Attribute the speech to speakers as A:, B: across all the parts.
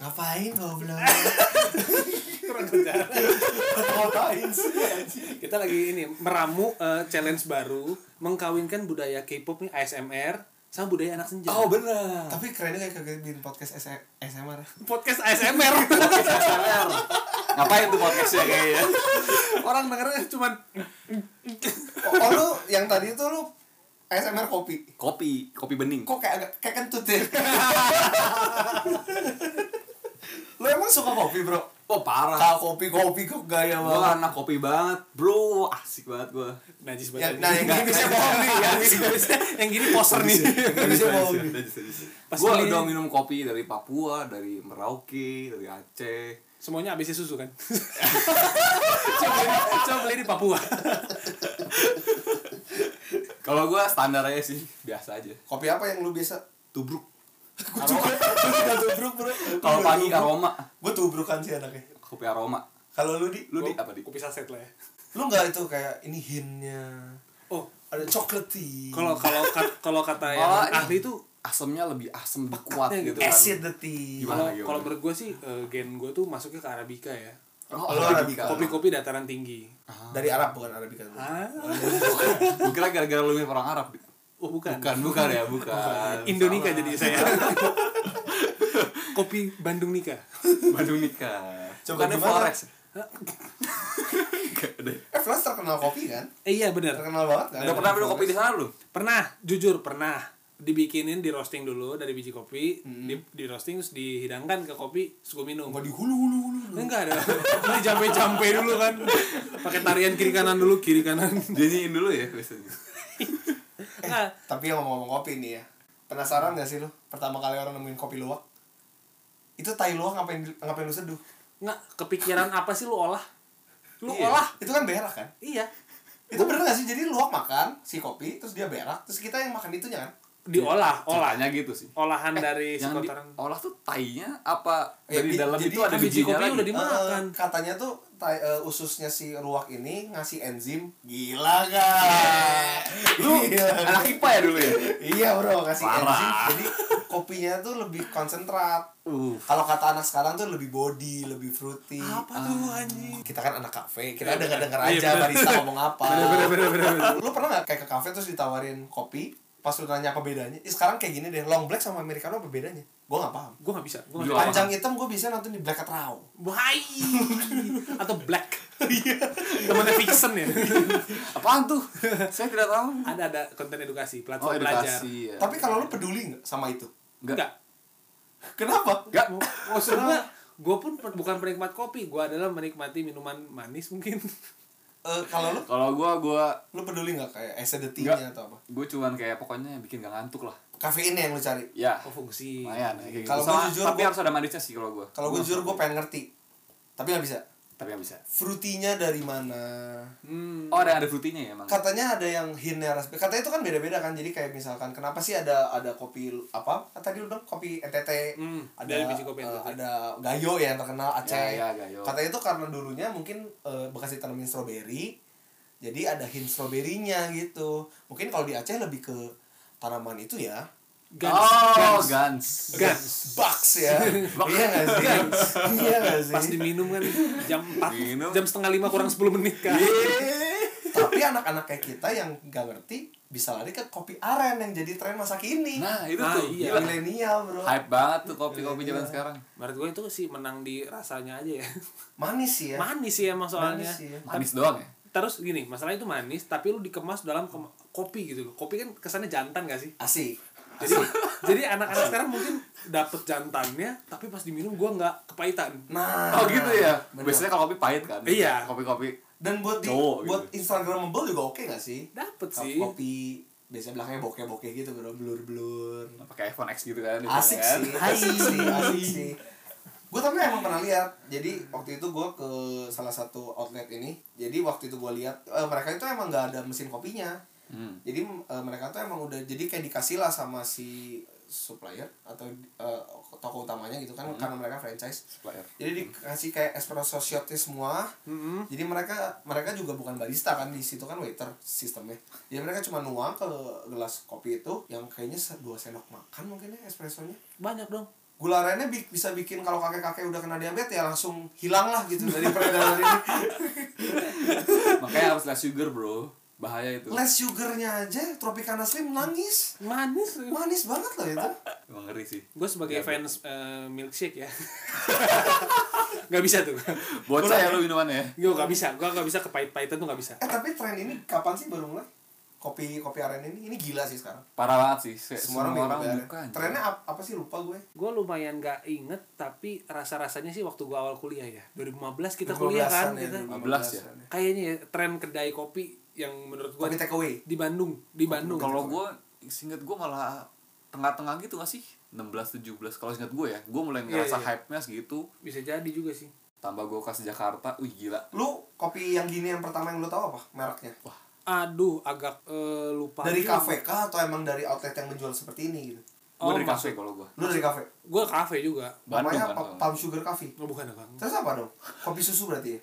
A: Ngapain goblok?
B: Kurang ajar.
A: Ngapain sih? anjing?
B: Kita lagi ini meramu eh, challenge baru mengkawinkan budaya K-pop nih ASMR sama budaya anak senja.
C: Oh benar.
A: Tapi kerennya kayak kagak bikin podcast S- SMR.
B: podcast ASMR.
C: SLR. Ngapain tuh podcastnya kayaknya?
B: Orang dengernya cuman
A: Oh, oh, lu yang tadi itu lu ASMR kopi.
C: Kopi, kopi bening.
A: Kok kayak agak kayak kentut ya? lu emang suka kopi, Bro?
C: Oh parah.
A: Kalau kopi kopi kok gaya
C: Gue
A: banget.
C: anak kopi banget, bro. Asik banget gue.
B: najis
A: Ya,
B: banget.
A: nah, yang gini bisa bohong nih, yang gini bisa.
B: yang gini poser
C: Iya,
B: nih.
A: Bisa bohong nih.
B: Pas
C: Gue
B: beli-
C: udah minum kopi dari Papua, dari Merauke, dari Aceh.
B: Semuanya abisnya susu kan. coba, beli, coba beli di Papua.
C: Kalau gue standar aja sih, biasa aja.
A: Kopi apa yang lu biasa?
C: Tubruk.
A: Gue juga, gue juga tubruk, Bro.
C: Kalau
A: iya.
C: pagi aroma,
A: Gue tubrukan sih anaknya.
C: kopi aroma.
A: Kalau lu di,
C: Lu di apa di?
B: Kopi saset lah ya.
A: lu nggak itu kayak ini hintnya
B: Oh,
A: ada chocolate tea.
B: kalau kalau kat- kalau kata yang
C: Oh, ini-
B: ahli itu
C: Asamnya lebih asam, lebih kuat
B: Pekatnya
C: gitu
B: gitu.
C: kan.
A: acidity.
C: Gimana?
B: kalau
C: gimana?
B: kalau menurut gue sih eh, gen gue tuh masuknya ke Arabica ya.
C: Oh,
A: Kalau Arabica.
B: Kopi-kopi dataran tinggi.
A: Dari Arab bukan kan? Arabica.
B: Ah,
C: Gue kira gara-gara lu minum orang Arab. Di.
B: oh bukan. Eh,
C: Bukan, bukan ya, bukan.
B: Indonesia
C: Salah.
B: jadi saya. kopi Bandung Nika.
C: Bandung nikah.
A: Coba
C: Bukannya
A: gimana?
C: Flores. Enggak deh.
A: Eh, Flash terkenal kopi kan?
B: Eh, iya bener.
A: Terkenal banget kan?
C: Udah pernah minum kopi di sana belum?
B: Pernah, jujur pernah dibikinin di roasting dulu dari biji kopi,
C: Mm-hmm.
B: di, di roasting terus dihidangkan ke kopi, terus gue minum.
A: Mau di hulu hulu hulu. hulu.
B: Enggak ada. Ini jampe-jampe dulu kan. Pakai tarian kiri kanan dulu, kiri kanan.
C: Dinyiin dulu ya biasanya. Eh.
B: Nah,
A: Tapi yang ngomong-ngomong kopi nih ya. Penasaran gak sih lu? Pertama kali orang nemuin kopi luwak. Itu tai luwak ngapain ngapain lu seduh?
B: enggak kepikiran apa sih lu olah? Lu
C: Iya.
B: olah.
A: Itu kan berak kan?
B: Iya.
A: Itu bener gak sih? Jadi luwak makan si kopi, terus dia berak, terus kita yang makan itunya kan?
B: Diolah, olah.
C: Olahnya gitu sih.
B: Olahan dari
C: Yang
B: sekotaran.
C: diolah tuh tainya apa
A: Eh,
C: dari
A: bi-
C: dalam
A: jadi
C: itu ada
B: kan biji
C: bijinya
B: kopi
C: lagi?
B: udah di- Dimakan.
A: Eh, katanya tuh tai, eh, ususnya si ruak ini ngasih enzim. Gila gak?
C: Lu anak IPA ya dulu ya?
A: Iya bro, ngasih
C: Parah.
A: enzim. Jadi kopinya tuh lebih konsentrat.
C: Uh.
A: Kalau kata anak sekarang tuh lebih body, lebih fruity.
B: Apa tuh
C: Ah.
B: anjing?
A: Kita kan anak kafe, kita
B: Iya,
A: denger denger
B: bener.
A: aja
B: Iya, bener.
A: barista ngomong apa.
B: Bener, bener, bener, bener.
A: Lu pernah gak kayak ke kafe terus ditawarin kopi? Pas lu nanya apa bedanya? Ih, sekarang kayak gini deh, long black sama americano apa bedanya? Gua gak paham.
B: Gue gak bisa. Gue
C: Jual.
B: gak bisa.
A: Panjang hitam gue bisa nonton di Black Cat Raw.
B: Bahai. Atau black. Iya. Temennya fiction ya.
C: Apaan tuh? Saya tidak tahu.
B: ada ada konten edukasi,
C: Oh,
B: platform belajar.
C: edukasi ya.
A: Tapi kalau lu peduli gak sama itu?
C: enggak.
B: Enggak.
A: Kenapa?
C: Enggak.
B: Maksud gue, gue pun per- bukan penikmat kopi. Gue adalah menikmati minuman manis mungkin.
A: Eh, kalau lu
C: Kalau gua gua
A: lu peduli nggak kayak acidity-nya
C: Nggak.
A: atau apa?
C: gua cuman kayak pokoknya bikin gak ngantuk lah.
A: Kafeinnya yang lu cari.
C: Ya.
B: Oh, fungsi.
C: Lumayan kayak gitu.
A: Kalau gua
C: Sama-
A: jujur,
C: tapi
A: gua-
C: harus ada manisnya sih kalau gua.
A: Kalau gue jujur gue pengen ngerti. Tapi nggak bisa.
C: tapi nggak bisa.
A: Fruity-nya dari mana?
B: Hmm.
C: Oh, ada ada fruitinya ya, Mang.
A: Katanya ada yang hintnya raspberry. Katanya itu kan beda-beda kan. Jadi kayak misalkan kenapa sih ada ada kopi lu- apa? Ah, Tadi lu bilang kopi NTT.
B: Hmm,
A: ada
B: dari biji kopi
A: eh,
B: NTT.
A: ada Gayo ya yang terkenal Aceh.
C: Ya, ya, Gayo.
A: Katanya itu karena dulunya mungkin eh, bekas ditanemin stroberi. Jadi ada hint stroberinya gitu. Mungkin kalau di Aceh lebih ke tanaman itu ya.
B: Guns.
C: Oh,
B: Guns.
C: Gans.
B: Guns.
A: Bucks ya. iya gak sih? iya gak sih?
B: Pas diminum kan jam 4,
C: Minum.
B: jam setengah 5 kurang 10 menit kan.
C: Iya.
A: Tapi anak-anak kayak kita yang gak ngerti bisa lari ke kopi aren yang jadi tren masa kini.
C: Nah, itu
B: Ah,
C: tuh. Gila.
B: iya.
A: Milenial bro.
C: Hype banget tuh kopi-kopi zaman
A: Iya.
C: sekarang.
B: Menurut gue itu sih menang di rasanya aja ya.
A: Manis sih ya.
B: Manis sih emang soalnya.
A: Manis sih ya.
C: Manis doang ya.
B: Terus gini, masalah itu manis tapi lu dikemas dalam kema- kopi gitu loh. Kopi kan kesannya jantan gak sih?
A: Asik.
B: Jadi jadi anak-anak sekarang mungkin dapet jantannya tapi pas diminum gua nggak kepahitan.
A: Nah.
C: Oh, gitu ya.
A: bener.
C: Biasanya kalau kopi pahit kan.
B: Iya.
C: Kopi-kopi
A: Dan buat di,
C: Cowok gitu.
A: buat Instagramable juga oke gak sih?
B: Dapet
A: Kop-
B: sih.
A: Kopi biasanya belakangnya bokeh-bokeh gitu bro, blur-blur.
C: pakai iPhone X gitu kan.
A: Asik
C: kan.
A: sih, asik sih, asik sih. Gue tapi emang pernah lihat. Jadi waktu itu gue ke salah satu outlet ini. Jadi waktu itu gue lihat eh, mereka itu emang nggak ada mesin kopinya.
C: Hmm.
A: jadi eh, mereka tuh emang udah jadi kayak dikasih lah sama si supplier atau eh, toko utamanya gitu kan karena mereka franchise
C: Hmm. Supplier. Hmm.
A: jadi dikasih kayak espresso shotnya semua
B: Mm-mm.
A: jadi mereka mereka juga bukan barista kan di situ kan waiter sistemnya jadi mereka cuma nuang ke gelas kopi itu yang kayaknya se- dua sendok makan mungkin ya espressonya
B: Banyak dong.
A: gula rennya bi- bisa bikin kalau kakek-kakek udah kena diabetes ya langsung hilang lah gitu dari peredaran ini.
C: Makanya harus less sugar bro Bahaya itu
A: Less sugarnya aja Tropicana Slim nangis.
B: manis
A: Manis banget loh itu.
C: Emang ngeri sih
A: Ya,
B: gue sebagai fans eh, milkshake ya nggak bisa tuh
C: Bocah ya lu minumannya
B: gue nggak bisa gue nggak bisa kepahit-pahitan tuh nggak bisa
A: Eh tapi tren ini kapan sih baru mulai? Kopi kopi aren ini ini gila sih sekarang.
C: Parah banget sih Se-
A: Semua orang, minum kopi aren.
C: bukan
A: Trennya ap- apa sih lupa gue?
B: gue lumayan gak inget tapi rasa-rasanya sih waktu gue awal kuliah ya 2015 kita kuliah
A: 15-an
B: kan
A: ya,
B: kita
C: 15 ya.
A: 15-an
B: kayaknya ya, tren kedai kopi yang menurut gue
A: Kopi take away.
B: di Bandung di Bandung
C: Kalau gue singkat gue malah tengah-tengah gitu gak sih 16-17 kalau singkat gue ya gue mulai
B: Iya,
C: ngerasa
B: iya.
C: hype-nya segitu
B: bisa jadi juga sih
C: tambah gue ke Jakarta wih gila
A: Lu kopi yang gini yang pertama yang lu tahu apa mereknya?
B: aduh agak eh, lupa
A: dari kafe kah atau emang dari outlet yang menjual seperti ini gitu?
C: gue
B: Oh,
C: dari kafe kalau gue
A: Lu dari kafe?
B: gue kafe juga
C: Bandung
A: Namanya
C: kan
A: pa- Palm Sugar Coffee.
B: oh, bukan bang
A: Terus apa dong? Kopi susu berarti ya?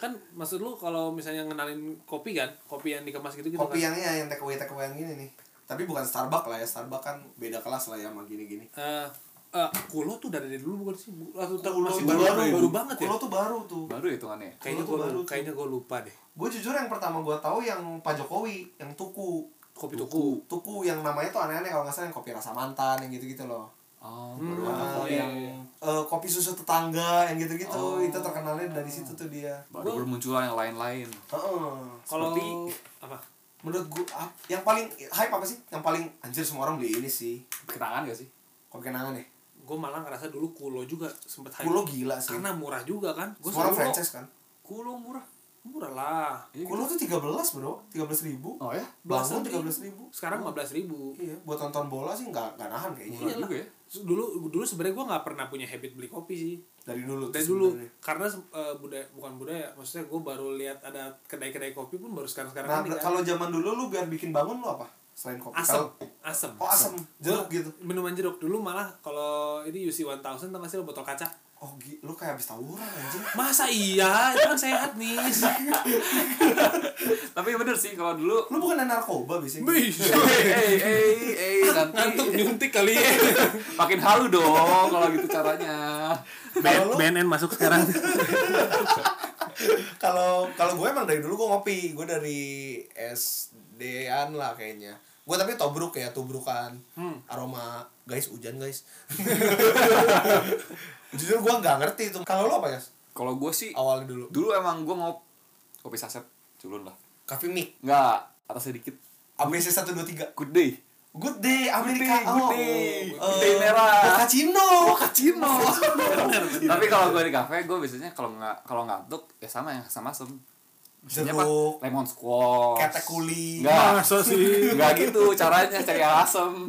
B: kan maksud lu kalau misalnya ngenalin kopi kan kopi yang dikemas gitu gitu
A: Kopi
B: kan
A: yang ya, yang take away take away yang ini nih. Tapi bukan Starbucks lah ya, Starbucks kan beda kelas lah ya sama gini-gini.
B: Eh, eh, kulo tuh dari dulu bukan sih Bu- atau atau
A: Kulo
B: masih
A: tuh
B: baru,
A: baru,
B: baru,
A: ya?
B: baru banget ya
A: Kulo tuh baru tuh.
C: baru hitungannya
B: kayaknya
A: Kulo tuh
B: gue
A: baru tuh.
B: kayaknya gue lupa deh
A: Gue jujur yang pertama gue tahu yang Pak Jokowi, yang tuku.
B: kopi tuku
A: Tuku yang namanya tuh aneh-aneh kalau nggak salah yang kopi rasa mantan yang gitu-gitu loh.
C: oh
B: Hmm.
C: baru
A: Ah,
C: anak
B: iya,
A: yang
B: iya.
A: eh, kopi susu tetangga yang gitu-gitu
C: Oh.
A: itu terkenalnya dari situ tuh dia.
C: baru bermunculan yang lain-lain
A: Heeh.
B: kalau
C: Seperti-
B: apa
A: Menurut gue yang paling hype apa sih? Yang paling anjir semua orang beli ini sih.
C: kenangan gak sih
A: Kopi kenangan ya.
B: gue malah ngerasa dulu kulo juga sempet hype.
A: Kulo gila sih.
B: karena murah juga kan gue
A: semua orang franchise kan.
C: kulo murah
B: murah lah
C: Iya,
A: Kulo tuh 13 bro, 13 ribu.
C: oh ya
A: Bangun
B: Belasan
A: 13 ribu.
B: sekarang 15.000 ribu
A: Iya, buat nonton bola sih nggak nggak nahan kayaknya.
C: murah juga ya
B: dulu dulu sebenarnya gue nggak pernah punya habit beli kopi sih
A: Dari dulu. tuh
B: dari dulu
A: sebenarnya.
B: karena eh, budaya bukan budaya maksudnya gue baru lihat ada kedai-kedai kopi pun baru sekarang sekarang
A: Nah, kalau zaman dulu lu biar bikin bangun lu apa? Selain kopi.
B: kan asem
A: Kalau-
B: asem
A: Oh, asem. Jeruk gitu.
B: minuman jeruk dulu malah kalau ini UC 1000 tau gak sih lo botol kaca
A: Oh, gi- lu kayak habis tawuran anjir.
B: masa iya itu kan sehat nih
C: tapi bener sih kalau dulu
A: Lu bukan narkoba biasanya. gitu?
B: Wih,
C: eh eh eh nanti
B: ngantuk nyuntik kali ya
C: makin halu dong kalau gitu caranya
A: Kalau lu-
B: BNN masuk sekarang
A: Kalau kalau gue emang dari dulu gue ngopi. Gue dari SD-an lah kayaknya. Gue tapi tobruk ya, tobrukan. Aroma guys hujan guys. Jujur gue nggak ngerti itu. Kalau lu apa ya?
C: kalau gue sih
A: Awalnya dulu.
C: dulu emang gue mau kopi saset culun lah
A: Coffee Mic.
C: nggak atasnya dikit
A: ABC 123.
C: good day
A: Good day Amerika.
C: day, good
A: oh,
C: day.
A: eh,
C: Good day merah.
A: Bocacino. Bocacino.
C: tapi kalau gue di kafe gue biasanya kalau nggak kalau ngantuk ya sama yang sama sem biasanya apa
A: Jeruk.
C: lemon squash
A: Ketek kuli.
C: nggak
B: masa sih
C: nggak gitu caranya cari yang asem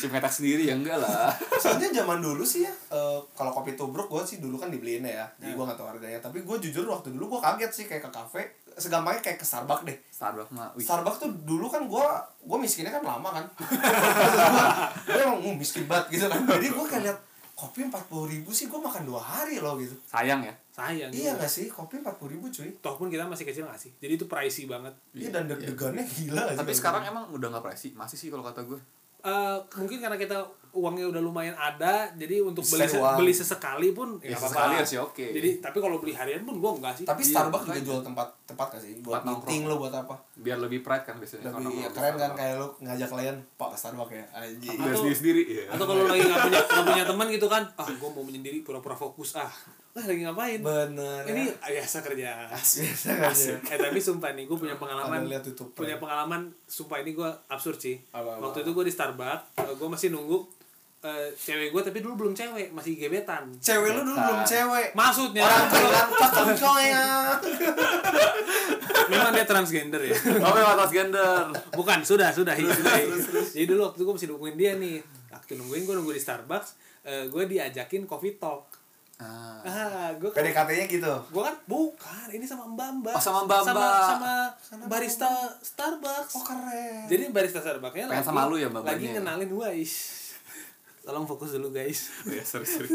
C: cuma ketek sendiri ya enggak lah
A: Soalnya zaman dulu sih ya, eh, kalau kopi tubruk gue sih dulu kan dibeliin ya,
C: Iya.
A: jadi gue gak tau harganya. Tapi gue jujur waktu dulu gue kaget sih kayak ke kafe, segampangnya kayak ke Starbucks deh.
C: Starbucks mah wih
A: Starbucks tuh dulu kan gue gue miskinnya kan lama kan, gue emang "Uh, miskin banget gitu kan. Jadi gue kayak liat kopi empat puluh ribu sih gue makan dua hari loh gitu.
C: sayang ya
B: sayang
A: Iya gak sih kopi empat puluh ribu cuy.
B: toh pun kita masih kecil gak sih jadi itu pricey banget
A: Iya dan deg-degannya gila gitu. sih.
C: tapi sekarang emang udah nggak pricey masih sih kalau kata gue
B: Eh, mungkin karena kita uangnya udah lumayan ada jadi untuk
A: Bisa
B: beli
A: di uang.
B: beli sesekali pun
C: Ya,
B: ya, nggak apa-apa.
C: sesekali harus ya oke.
B: jadi tapi kalau beli harian pun gua enggak sih
A: tapi
C: Iya,
A: Starbucks juga
C: makanya.
A: jual tempat tempat gak sih buat
C: Tempat nongkrong.
A: meeting lo buat apa?
C: biar lebih pride kan biasanya kalau
A: Lebih
C: nongkrong
A: ya,
C: di
A: keren kan
C: Starbucks.
A: kayak lo ngajak klien pak ke Starbucks ya anjing.
C: biar
B: Atau-
C: sendiri sendiri iya.
B: atau kalau lagi nggak punya nggak punya teman gitu kan ah gua mau menyendiri pura-pura fokus ah Wah, lagi ngapain
A: Bener.
B: ini
A: ya.
B: biasa kerja
A: biasa kerja.
B: eh tapi sumpah nih gue punya
A: Ada
B: pengalaman
A: lihat YouTube.
B: punya pengalaman sumpah ini gua absurd sih
A: Apa, apa,
B: waktu itu gua di Starbucks eh, gua masih nunggu eh, cewek gua tapi dulu belum cewek masih gebetan
A: Cewek lu dulu belum
C: Iya.
A: cewek.
B: maksudnya
A: Orang terlantar kau ya.
B: memang dia transgender ya
C: oh memang transgender
B: Bukan, sudah, sudah. Iya, sudah. Jadi dulu waktu gue masih nungguin dia nih. Waktu nungguin gue nunggu di Starbucks, eh, gue diajakin coffee talk.
C: ah.
B: Ah, gue kan,
A: PDKT-nya gitu.
B: gue kan bukan, ini sama Mbak Mbak.
C: Oh, sama Mbak
B: sama,
C: Mbak.
B: sama barista Starbucks.
A: Oh keren.
B: Jadi barista Starbucks-nya
C: Pengen
B: lagi,
C: sama lu ya, Mbak
B: lagi
C: Mbaknya.
B: ngenalin gue. Ih, Tolong fokus dulu guys.
C: ya sorry sorry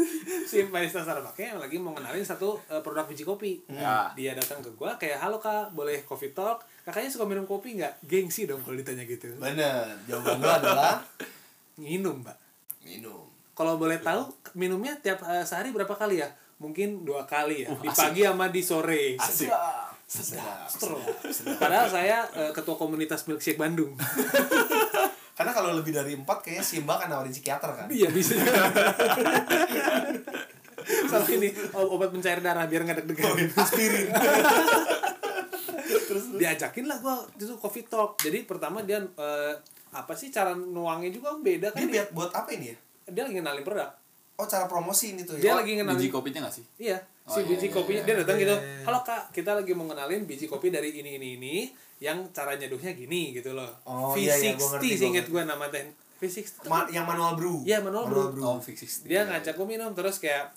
B: si barista Starbucks-nya lagi mau ngenalin satu eh, produk biji kopi.
C: Ya.
B: Dia datang ke gue kayak halo kak, boleh coffee talk. Kakaknya suka minum kopi nggak? Gengsi dong kalau ditanya gitu.
A: Bener. Jawaban lu adalah
B: Minum mbak.
A: minum.
B: kalau boleh tahu minumnya tiap eh, sehari berapa kali ya? Mungkin dua kali ya. Di pagi sama di sore.
C: Asik.
A: Sedap.
B: Terus. Padahal saya eh, ketua komunitas milkshake Bandung.
A: Karena kalau lebih dari empat kayaknya Simba kan nawarin psikiater kan.
B: Iya bisa. juga. Sama ini o- obat pencair darah biar
C: Iya.
B: nggak
A: Oh, iya.
B: deg-degan.
A: Aspirin.
B: Diajakin lah gua itu coffee talk. Jadi pertama dia eh, apa sih cara nuangnya juga beda kan?
A: Ini
B: Dia,
A: buat, buat apa ini ya?
B: dia lagi ngenalin produk.
A: Oh cara promosiin itu ya.
B: Dia lagi ngenalin
C: Biji kopinya gak sih?
B: Iya,
C: Oh,
B: si
C: iya,
B: biji
C: iya,
B: kopinya
C: iya.
B: dia datang gitu. Halo Kak, kita lagi mau ngenalin biji kopi dari ini ini ini yang cara nyeduhnya gini gitu loh.
A: Oh,
B: V60
A: iya, iya, gua ngerti, gua
B: seinget
A: ngerti.
B: gue nama teh. V60 tuh
A: Ma- yang manual brew.
B: Iya, manual brew.
C: Oh, fix fix.
B: dia ngajak gue minum terus kayak,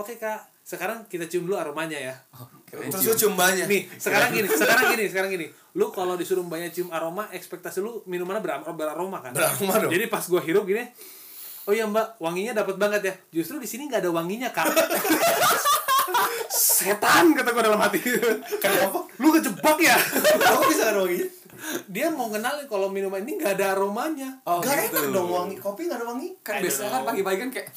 B: "Oke Kak, sekarang kita cium dulu aromanya ya."
C: Oh, keren
A: Terus
C: cium.
A: lu cium banyak.
B: Nih, sekarang gini, sekarang gini, sekarang gini. Lu kalau disuruh mbaknya cium aroma, ekspektasi lu minumannya berar- beraroma kan?
A: Beraroma dong.
B: Jadi pas gua hirup gini, "Oh iya Mbak, wanginya dapat banget ya." Justru di sini nggak ada wanginya, Kak. Setan kata gua dalam hati.
A: Kenapa?
B: lu kejebak ya
A: Aku bisa kan wanginya?
B: dia mau kenalin kalau minuman ini nggak ada aromanya
C: Oh,
A: gak enak
C: gitu.
A: dong wangi. Kopi gak ada wangi.
C: Kan
B: I don't
C: biasanya kan
B: know.
C: pagi-pagi kan kayak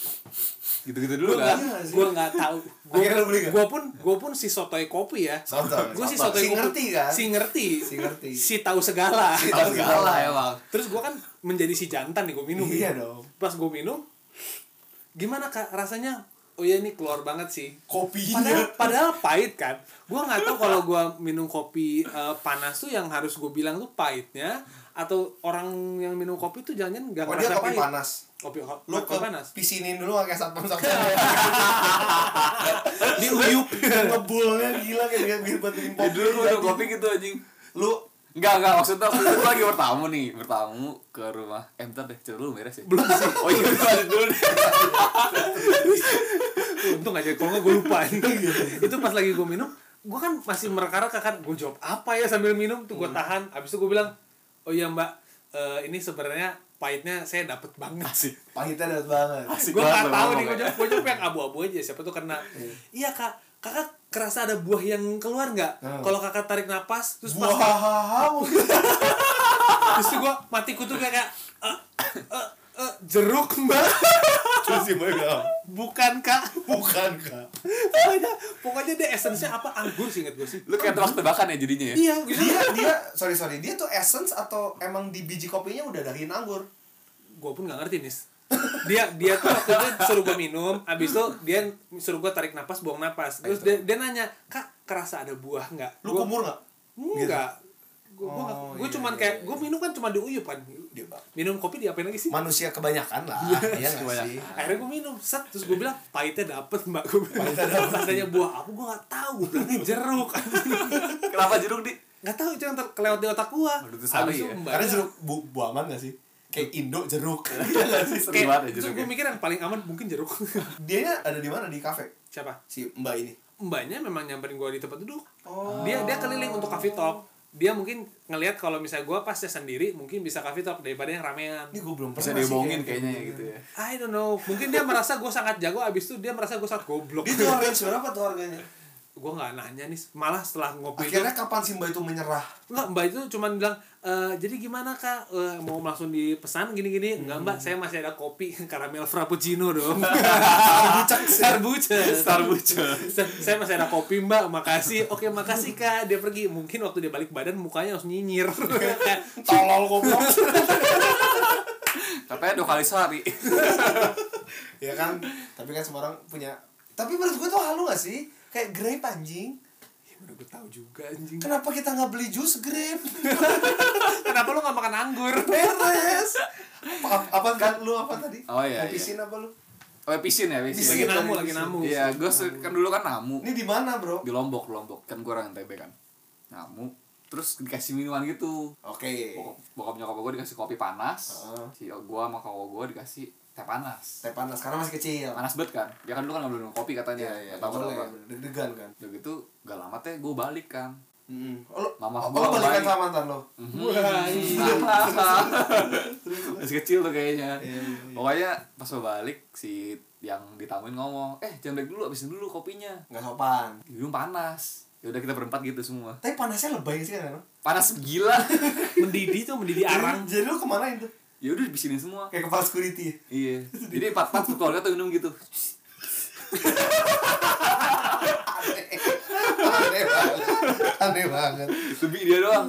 C: gitu-gitu dulu
B: gue
C: kan.
B: nggak
A: Iya sih.
B: gue nggak tahu
A: Akhirnya lu beli nggak?
B: gue pun gue pun si sotoy kopi ya
A: Sotoy.
B: gue si
A: Sotoy.
B: sotoy
A: Si
B: kopi
A: ngerti kan?
B: si ngerti
A: Si ngerti.
B: si tahu segala
C: Tahu segala ya, Bang.
B: terus gue kan menjadi si jantan nih gue minum
A: Iya
B: ya.
A: dong.
B: pas gue minum gimana kak rasanya oh ya ini keluar banget sih padahal
A: Kopinya.
B: padahal pahit kan gue nggak tahu kalau gue minum kopi eh, panas tuh yang harus gue bilang tuh pahitnya atau orang yang minum kopi tuh jangan nggak
A: Oh
B: ngerasa
A: dia kopi
B: pahit
A: panas.
B: kopi ho-
A: Lu ke
B: kopi panas
A: pisinin dulu pakai satpam-satpam.
B: diuyup
A: Ngebulnya gila kayak biar buat bikin
C: Ya
A: kopi.
C: dulu udah kopi gitu anjing.
A: Lu
C: Enggak, enggak, maksudnya waktu itu lagi bertamu nih, bertamu ke rumah. Eh, bentar deh, cerita dulu beres ya.
B: belum sih
C: Oh iya, itu lanjut dulu deh.
B: untung aja kalau nggak gue lupa itu pas lagi gue minum gue kan masih mereka-reka kan gue jawab apa ya sambil minum tuh gue tahan abis itu gue bilang oh iya mbak eh, ini sebenarnya pahitnya saya dapet banget
C: Asik.
A: pahitnya dapat banget.
C: Asik
B: gue gak
C: banget
B: tahu nih
C: ngomongnya.
B: gue jawab gue jawab yang abu-abu aja siapa tuh kena iya kak kakak kerasa ada buah yang keluar nggak
A: Hmm.
B: kalau kakak tarik napas terus pas
A: Wah,
B: terus gue mati kutu kayak kayak, "Eh, eh, eh, jeruk mbak
A: terus sih mereka.
B: bukan kak
A: Bukan kak.
B: pokoknya pokoknya dia esensnya apa anggur sih inget gue sih
C: Lu kayak tebak-tebakan ya jadinya ya.
B: iya
A: Dia dia sorry sorry dia tuh essence atau emang di biji kopinya udah dari anggur.
B: gue pun nggak ngerti nis dia dia tuh waktu itu suruh gue minum abis itu dia suruh gue tarik napas buang napas terus dia, dia nanya kak kerasa ada buah nggak
A: Lu
B: Gua-
A: kumur nggak?
B: Enggak. Gue gua,
A: Oh,
B: gua
A: iya,
B: cuman
A: iya,
B: kayak gue minum kan cuma diuyup kan. Minum kopi diapain lagi sih?
A: Manusia kebanyakan lah. Iya nggak
C: kebanyakan.
A: sih.
B: Akhirnya gue minum, set terus gue bilang pahitnya dapet mbak gue bilang rasanya buah apa gue gak tahu gue bilangnya jeruk
C: Kenapa jeruk, Di?
B: nggak tahu itu yang ter- kelewat di otak gue
C: Waduh, itu sari ya.
A: Karena jeruk bu buaman nggak sih? Kayak Indo jeruk.
C: Iya.
A: Iya
C: Seru banget
B: kayak
C: ya
B: terus
C: jeruk.
B: gue mikir yang paling aman mungkin jeruk
A: Dia ada di mana di kafe?
B: siapa
A: Si Mbak ini.
B: mbaknya memang nyamperin gue di tempat duduk
A: Oh.
B: dia dia keliling untuk coffee talk dia mungkin ngelihat kalau misalnya gue pasnya sendiri mungkin bisa coffee talk daripada yang ramean
A: Ini gue belum
C: Bisa
A: pernah sih
C: diomongin
A: kayak-
C: kayaknya ya gitu ya.
B: I don't know. Mungkin dia merasa gue sangat jago, abis itu dia merasa gue sangat goblok.
A: Dia tuh harganya berapa tuh harganya?
B: gue nggak nanya nih, malah setelah ngopi
A: Akhirnya
B: itu,
A: kapan si Mbak itu menyerah?
B: nggak mbak itu cuma bilang, "Eh, jadi gimana kak, Eh, mau langsung dipesan gini-gini? Enggak
A: Hmm.
B: mbak, saya masih ada kopi karamel frappuccino dong.
C: ya.
B: Starbucks.
C: Starbucks.
B: Sa- saya masih ada kopi mbak, makasih. Oke makasih kak, dia pergi. Mungkin waktu dia balik badan mukanya harus nyinyir. Kayak,
A: Tolol goblok.
C: Katanya dua kali sehari.
A: ya kan? Tapi kan semua orang punya Tapi menurut gue tuh halu gak sih? Kayak grape anjing.
B: "Ya, mana gue tahu juga anjing.
A: Kenapa kita nggak beli jus grape?
B: Kenapa lu nggak makan anggur?
A: Beres. Apa, apa kan lu apa tadi?
C: Oh, iya,
A: Mau
C: iya.
A: pisin apa lu?
C: Oh, ya, pisin ya,
B: Lagi
C: pisin.
A: Pisin.
B: namu, lagi namu.
C: Iya, gue kan dulu kan namu.
A: Ini di mana, Bro?
C: Di Lombok, Lombok. Kan gue orang NTB kan. Namu. Terus dikasih minuman gitu.
A: Oke.
C: Bokap, bokap nyokap gue dikasih kopi panas.
A: Heeh.
C: Si gue sama kakak gue dikasih teh panas.
A: Teh panas karena masih kecil.
B: Iya,
C: Panas banget kan? Ya kan dulu kan gak boleh minum kopi katanya.
A: Iya, iya.
C: Gak tahu
A: boleh.
C: kenapa.
A: Deg-degan kan.
C: Udah gitu gak lama teh gue balik kan.
A: Heeh. Oh, lu,
C: Mama
A: oh,
C: gua
A: lu balikan
C: baik.
A: sama mantan lo.
B: Wah, iya.
C: Masih kecil tuh kayaknya.
A: Iya, iya, iya.
C: Pokoknya pas gue balik si yang ditamuin ngomong, "Eh, jangan balik dulu, habisin dulu kopinya."
A: Enggak sopan.
C: Minum panas. Ya udah kita berempat gitu semua.
A: Tapi panasnya lebay sih kan. Rano?
C: Panas gila.
B: mendidih tuh mendidih arang
A: Jadi, jadi lu kemana itu?
C: ya udah dibikinin semua
A: kayak kepala security
C: iya jadi empat empat keluarga tuh minum gitu
A: aneh aneh banget aneh banget
C: lebih dia doang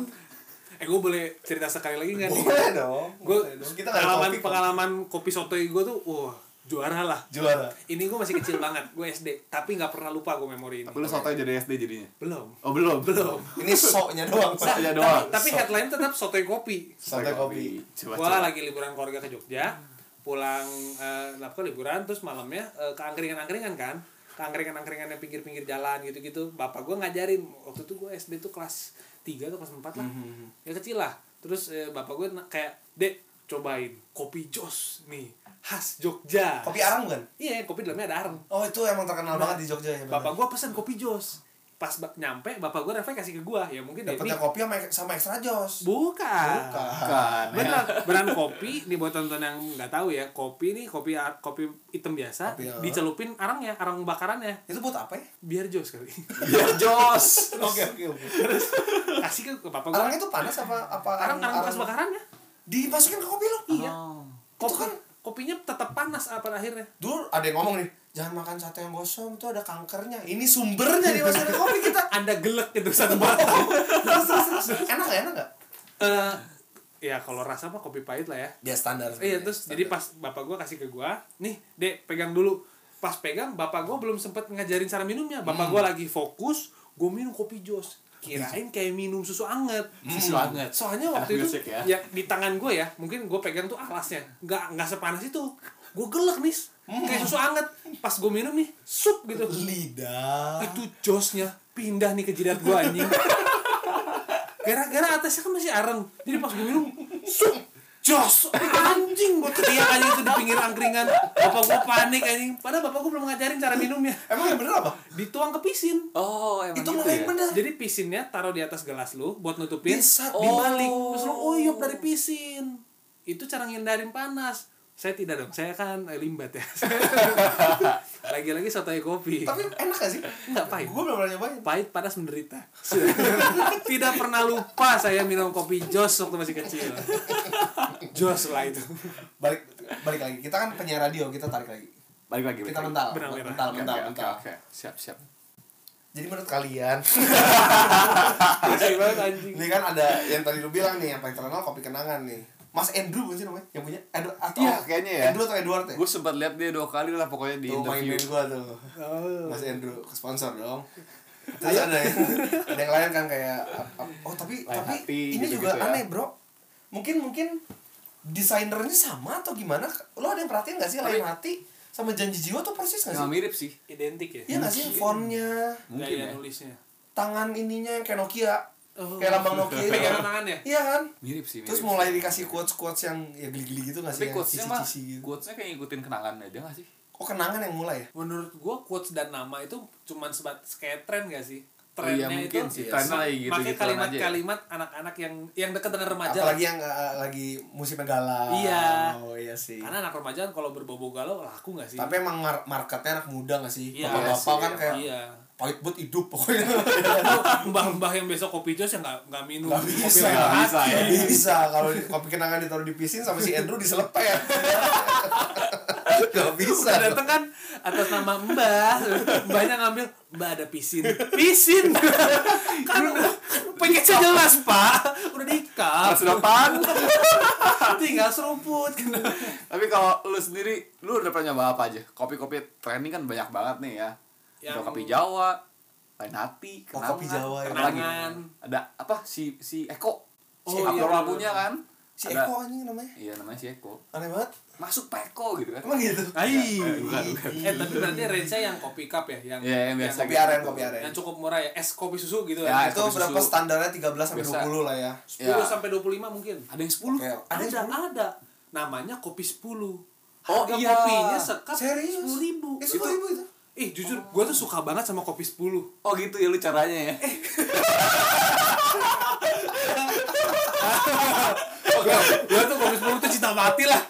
B: eh gue boleh cerita sekali lagi nggak nih
A: boleh Iya, dong
B: gue
A: boleh dong. kita nggak ada
B: pengalaman
A: topik kok.
B: pengalaman kopi sotoy gue tuh wah juara lah
A: juara
B: ini gue masih kecil banget gue SD tapi nggak pernah lupa gue memori ini
C: aku lu sotoy jadi SD jadinya
B: belum
C: oh belum
B: belum
A: ini soknya doang
C: Sok.
A: pak
C: Ya
B: tapi,
C: doang.
B: tapi headline tetap sotoy kopi
A: Sotoy kopi.
C: coba
B: gua
C: coba
B: lagi liburan keluarga ke Jogja pulang eh lah, pokoknya liburan terus malamnya eh, ke angkringan-angkringan kan ke angkringan-angkringan yang pinggir-pinggir jalan gitu-gitu bapak gua ngajarin waktu itu gua SD tuh kelas 3 atau kelas 4 lah ya kecil lah terus eh, bapak gua na- kayak dek cobain kopi jos nih khas Jogja
A: kopi arang bukan
B: iya kopi dalamnya ada arang
A: oh itu emang terkenal
B: Nah,
A: banget di Jogja ya
B: bapak gua pesan kopi jos pas ba- nyampe bapak gua refleks kasih ke gua ya mungkin dia ini
A: dapetnya kopi sama, sama ekstra jos
B: bukan
C: kan
B: Benar, beran kopi nih buat tonton yang nggak tahu ya, kopi nih kopi a- kopi hitam biasa
A: Kopi, ya.
B: dicelupin arangnya, arang bakarannya
A: itu buat apa ya
B: biar jos kali.
C: ya jos
A: oke oke oke
B: Kasih ke, ke bapak gua.
A: arang itu panas apa apa
B: Arang arang bekas bakarannya.
A: dimasukin ke kopi lo
B: Iya.
C: Oh.
B: Kopi,
A: kan-
B: kopinya tetap panas apa akhirnya.
A: dulu ada yang ngomong nih jangan makan sate yang gosong itu ada kankernya ini sumbernya dimasukin ke kopi kita Oh,
B: Anda gelek itu satu batang.
A: terus terus terus enak gak enak gak
B: Eh, ya kalau rasa mah kopi pahit lah ya.
A: ya standar
B: Iya, terus jadi pas bapak gua kasih ke gua, nih, Dek, pegang dulu. Pas pegang, bapak gua belum sempat ngajarin cara minumnya. Bapak gua lagi fokus, gua minum kopi jos. Kirain kayak minum susu anget.
C: Susu anget.
B: Soalnya
C: Anak
B: waktu itu
C: gresik ya.
B: ya. di tangan gua ya, mungkin gua pegang tuh alasnya. Nggak nggak sepanas itu. Gua gelek nih.
C: Hmm.
B: Kayak susu anget. Pas gua minum nih, sup gitu.
A: lidah
B: Itu josnya pindah nih ke jidat gua anjing. Gara-gara atasnya kan masih areng. Jadi pas gua minum, Jos, anjing gua teriak aja itu di pinggir angkringan. Bapak gua panik anjing. Padahal bapak gua belum ngajarin cara minumnya.
A: emang yang bener apa
B: Dituang ke pisin.
C: oh emang
A: itu
C: gitu
A: mah
C: ya?
A: yang bener
B: Iya. Jadi pisinnya taruh di atas gelas lu buat nutupin.
A: Bisa,
B: dibalik.
C: oh.
B: Terus lu uyup dari pisin. Itu cara ngindarin panas. Saya tidak dong, saya kan eh, limbat ya. Lagi-lagi sotoy kopi.
A: tapi enak gak sih
B: Enggak pahit.
A: gue belum pernah nyobain
B: Pahit panas menderita. tidak pernah lupa saya minum kopi Jos waktu masih kecil. Jos lah itu.
A: balik balik lagi kita kan penyiar radio kita tarik lagi
C: Iya, balik lagi
A: kita
C: balik lagi.
A: mental
B: Benang merah.
A: mental
C: Oke,
A: mental
C: oke,
A: mental
C: oke, oke. siap siap
A: jadi menurut kalian
B: Kasih banget anjing.
A: ini kan ada yang tadi lu bilang nih yang paling terkenal kopi kenangan nih Mas Andrew bukan sih namanya yang punya Edu, atau
C: Iya, kayaknya ya.
A: Andrew atau Edward ya
C: gue sempat lihat dia dua kali lah pokoknya di
A: tuh main
C: interview
A: band gua tuh
B: Oh.
A: Mas Andrew ke sponsor dong terus ada yang, ada yang lain kan kayak ap- ap- oh tapi
C: Lain
A: tapi
C: hati,
A: ini
C: gitu-gitu
A: juga
C: ya.
A: aneh bro mungkin mungkin desainernya sama atau gimana lo ada yang perhatiin gak sih lain hati sama janji jiwa tuh persis gak
C: Emang
A: sih
C: mirip sih
B: Identik ya?
A: Iya gak sih fontnya
C: mungkin
B: Gaya
C: ya
B: nulisnya.
A: tangan ininya yang kayak Nokia
B: Oh.
A: kayak lambang Nokia ini
B: Pegangan
A: kan.
B: tangan ya?
A: iya kan
C: mirip sih mirip
A: terus
C: sih.
A: mulai dikasih quotes quotes yang ya geli-geli gitu gak
C: tapi
A: sih yang
C: quotesnya mah
A: cici-cici gitu
C: quotesnya kayak ngikutin kenangan aja gak sih
A: oh kenangan yang mulai ya
B: Menurut gua quotes dan nama itu cuman sebat kayak tren gak sih?
C: Oh iya,
B: Trennya
C: mungkin
B: itu
C: sih. Trennya lagi
B: pakai
C: gitu-gituan aja ya.
B: kalimat-kalimat anak-anak yang yang dekat dengan remaja.
A: apalagi yang eh, lagi musim galau
B: Iya.
A: oh iya sih
B: Karena anak remaja kan kalau berbobo galau laku gak sih?
A: tapi emang mar- marketnya anak muda gak sih
B: Iya,
A: bapak-bapak
C: sih,
A: kan
C: emang.
A: kayak
B: iya.
A: pahit buat hidup pokoknya
B: Lu Mbah-mbah yang besok kopi jos yang gak, gak minum
A: Nggak
B: kopi iya.
A: bisa,
B: lain
A: nggak
B: hati.
C: bisa ya
A: Nggak bisa kalau di- kopi kenangan ditaruh di pisin sama si Andrew diselepet gak bisa
B: Udah
A: dong.
B: dateng kan atas nama Mbah. Mbahnya ngambil, Mbah ada pisin. Pisin. kan pengen jelas, Pak. Udah diikat.
C: Kelas delapan.
B: Tinggal serumput.
C: Iya, tapi kalau lu sendiri lu udah pernah nyoba apa aja kopi-kopi trending kan banyak banget nih ya
B: Yang-
C: ada kopi Jawa lain hati
A: Oh,
C: kenangan
A: kopi Jawa ya.
C: apa lagi?
B: Kenangan.
C: ada apa si si Eko si
B: Oh, iya,
C: aktor
B: bener.
C: lagunya kan
A: si
C: Ada-
A: Eko anjing namanya
C: iya namanya si Eko
A: aneh banget
C: masuk Peko gitu kan
A: emang gitu
B: Hai.
C: Eh, bukan, bukan.
B: Eh tapi berarti range yang kopi cup ya, yang
C: Iya, yang biasa
A: kopi
C: gitu.
A: aren kopi aren
B: yang cukup murah ya, es kopi susu gitu
C: Ya,
B: ya.
C: es
A: itu
C: kopi
A: berapa
C: susu.
A: standarnya 13 sampai
C: Biasa.
A: 20 lah ya
B: 10
C: Ya.
B: sampai 25 mungkin.
C: ada yang sepuluh
A: Oke.
B: Ada
A: Ada
B: ada, Namanya kopi 10.
C: Oh,
B: Harga
C: iya.
B: kopinya sekap
A: Serius?
B: 10 ribu.
A: Eh, 10.000 itu?
B: Ih jujur, gua tuh suka banget sama kopi 10
C: oh gitu ya lu caranya ya Oh,
B: Gua, gua tuh kopi 10 tuh cinta mati lah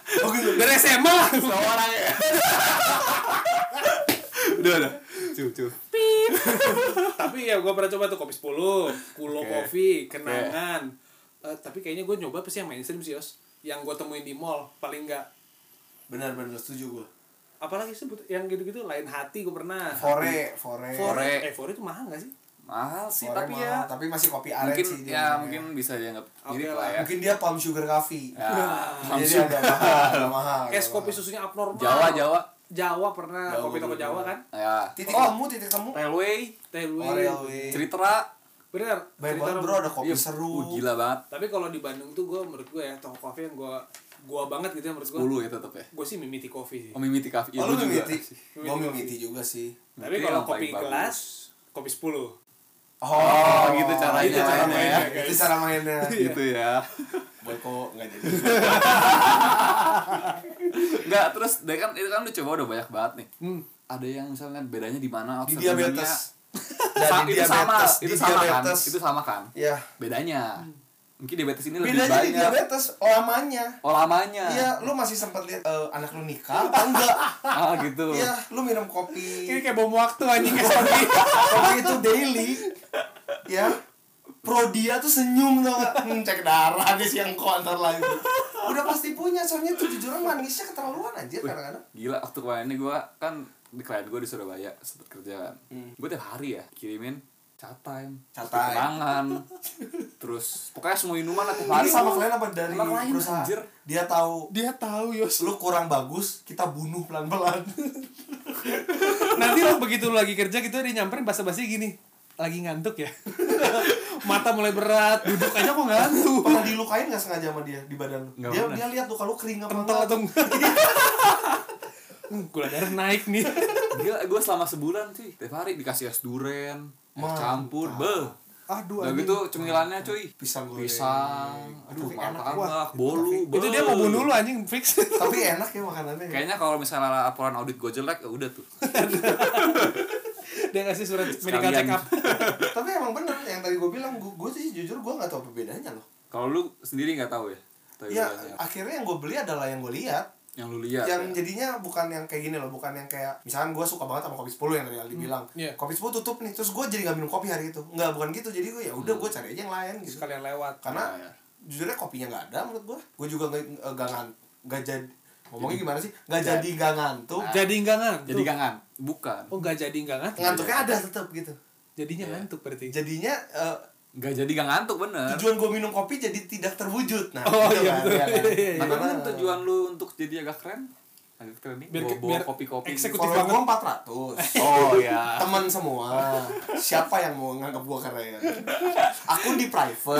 B: Dari SMA lah
C: Sama orang Oh, gitu. ya udah udah cukup cukup
B: Tapi ya gua pernah coba tuh kopi 10 Kulo
C: Oke.
B: kopi, kenangan eh, tapi kayaknya gue nyoba pasti yang mainstream sih Yos yang gue temuin di mall paling enggak
A: benar-benar setuju gue
B: apalagi sebut yang gitu-gitu lain hati gue pernah
A: fore fore
B: fore eh fore itu mahal gak sih
C: mahal sih
A: Fore
C: tapi
A: mahal,
C: ya
A: tapi masih kopi aren
C: mungkin
A: sih dia
C: ya
A: namanya.
C: mungkin bisa dianggap
B: Oke
C: mirip
B: lah.
C: lah ya.
A: mungkin dia palm sugar coffee
C: Ya,
B: Nah,
A: jadi agak mahal agak mahal agak
B: es kopi
A: mahal.
B: susunya abnormal
C: Jawa Jawa.
B: Jawa pernah
A: Jawa,
B: kopi toko
A: Jawa.
B: Jawa kan
C: Ya.
A: titik
C: Oh,
A: temu titik temu
C: Railway,
A: Oh,
B: Tailway
A: railway.
C: Ceritra.
B: bener
A: banyak
B: cerita
A: banget
B: orang.
A: bro ada kopi
C: Iya,
A: seru
C: uh, gila banget.
B: tapi kalau di Bandung tuh gue menurut gue ya toko kopi yang gue gue banget gitu ya menurut gue
C: 10 ya tetap ya.
B: gue sih mimiti kopi sih
C: Oh, Mimiti Cafe. Iya,
A: oh lu
C: gua juga.
A: mimiti gue
B: Mimiti.
A: mimiti juga sih
B: tapi
C: Mimiti
B: kalau
C: yang
B: kopi
C: paling bagus.
B: gelas kopi 10
A: oh,
C: gitu caranya
A: itu cara
C: mainnya Iya,
A: mainnya
B: ya,
A: itu
B: guys.
A: cara mainnya
C: Gitu ya.
A: boy kok nggak jadi
C: Enggak, terus dia kan itu kan lu coba udah banyak banget nih.
B: Hmm.
C: Ada yang misalnya bedanya di mana?
A: di
C: absen
A: diabetes
C: bedanya. Sa-
A: Jadi
C: itu sama,
A: diabetes, di
C: itu sama kan?
A: diabetes.
C: Itu sama kan?
A: ya
C: Bedanya. Mungkin diabetes ini lebih
A: bedanya di
C: banyak.
A: diabetes lamanya
C: Oh, lamanya.
A: Iya, lu masih sempat lihat eh, anak lu nikah apa enggak?
C: Ah, gitu.
A: Iya, lu minum
C: Iya,
A: kopi.
B: ini kayak bom waktu anjing kopi
A: kopi itu daily. Ya. Prodia tuh senyum tau gak? Hmm, cek darah di siang kok antar lagi. Udah pasti punya, soalnya tuh jujur manisnya keterlaluan aja kadang-kadang.
C: Gila, waktu kemarin gue kan di klien gue di Surabaya sempet kerja kan.
A: Hmm.
C: Gue tiap hari ya kirimin cat time,
A: Cat
C: cat
A: time.
C: terus pokoknya semua minuman aku
A: Ini
B: Iya,
C: hari
A: sama klien apa dari
C: Sama klien,
A: perusahaan?
C: anjir.
A: Dia tahu
B: dia tahu Yos
A: lu kurang bagus, kita bunuh pelan-pelan.
B: nanti lo begitu lo lagi kerja gitu dia nyamperin basa-basi gini lagi ngantuk ya mata mulai berat duduk aja kok ngantuk
A: Pernah dilukain gak sengaja sama dia di badan lu?
C: Nggak
A: dia
C: pernah.
A: dia lihat tuh kalau kering apa
B: kental atau enggak Hmm, gula darah naik nih
C: Gila, gue selama sebulan sih tiap hari dikasih es duren, es
A: Mantap.
C: campur, beh.
B: aduh
C: Udah
B: anjing.
C: gitu cemilannya cuy.
A: Pisang goreng.
C: Pisang, aduh,
A: Tapi enak,
C: martabak, bolu, beh.
B: itu dia mau bunuh lu anjing fix
A: Tapi enak ya makanannya. ya.
C: Kayaknya kalau misalnya laporan audit gue jelek, ya udah tuh.
B: dia ngasih surat medical
C: Sekalian.
B: check up
A: tapi emang bener yang tadi gue bilang gue, gue sih jujur gue nggak tahu perbedaannya loh
C: Kalau lu sendiri nggak tahu ya? Tahu
A: ya
C: bedanya apa?
A: akhirnya yang gue beli adalah yang gue lihat
C: yang lu lihat.
B: Iya
A: yang
C: ya?
A: jadinya bukan yang kayak gini loh bukan yang kayak misalkan gue suka banget sama kopi 10 yang tadi Aldi bilang
B: iya.
A: kopi 10 tutup nih terus gue jadi nggak minum kopi hari itu nggak bukan gitu jadi gue ya udah
B: Hmm.
A: gue cari aja yang lain gitu
B: sekalian lewat
A: karena
C: Ya, ya.
A: jujurnya kopinya nggak ada menurut gue gue juga nggak nggak ngan- nggak jadi ngomongnya gimana sih nggak jadi
B: Iya.
A: nggak ngantuk
B: Oh, jadi enggak ngantuk
C: Jadi kangen? Bukan.
B: oh enggak jadi enggak ngantuk
A: ngantuknya ada tetap gitu
B: jadinya
C: Iya.
B: ngantuk berarti
A: jadinya eh,
C: Gak jadi gak ngantuk bener
A: tujuan gue minum kopi jadi tidak terwujud nah
B: Oh,
A: gitu
B: iya,
A: kan,
B: betul.
A: ya kan?
B: Iya, iya.
C: Tapi
A: Gimana?
C: mungkin tujuan lu untuk jadi agak keren Agak keren nih
B: Biar-
C: Bawa, bawa
B: biar
C: kopi-kopi gitu.
B: eksekutif.
A: Follow
B: banget.
A: gue 400
C: Oh ya
A: Temen semua Siapa yang mau nganggap gue keren Akun di private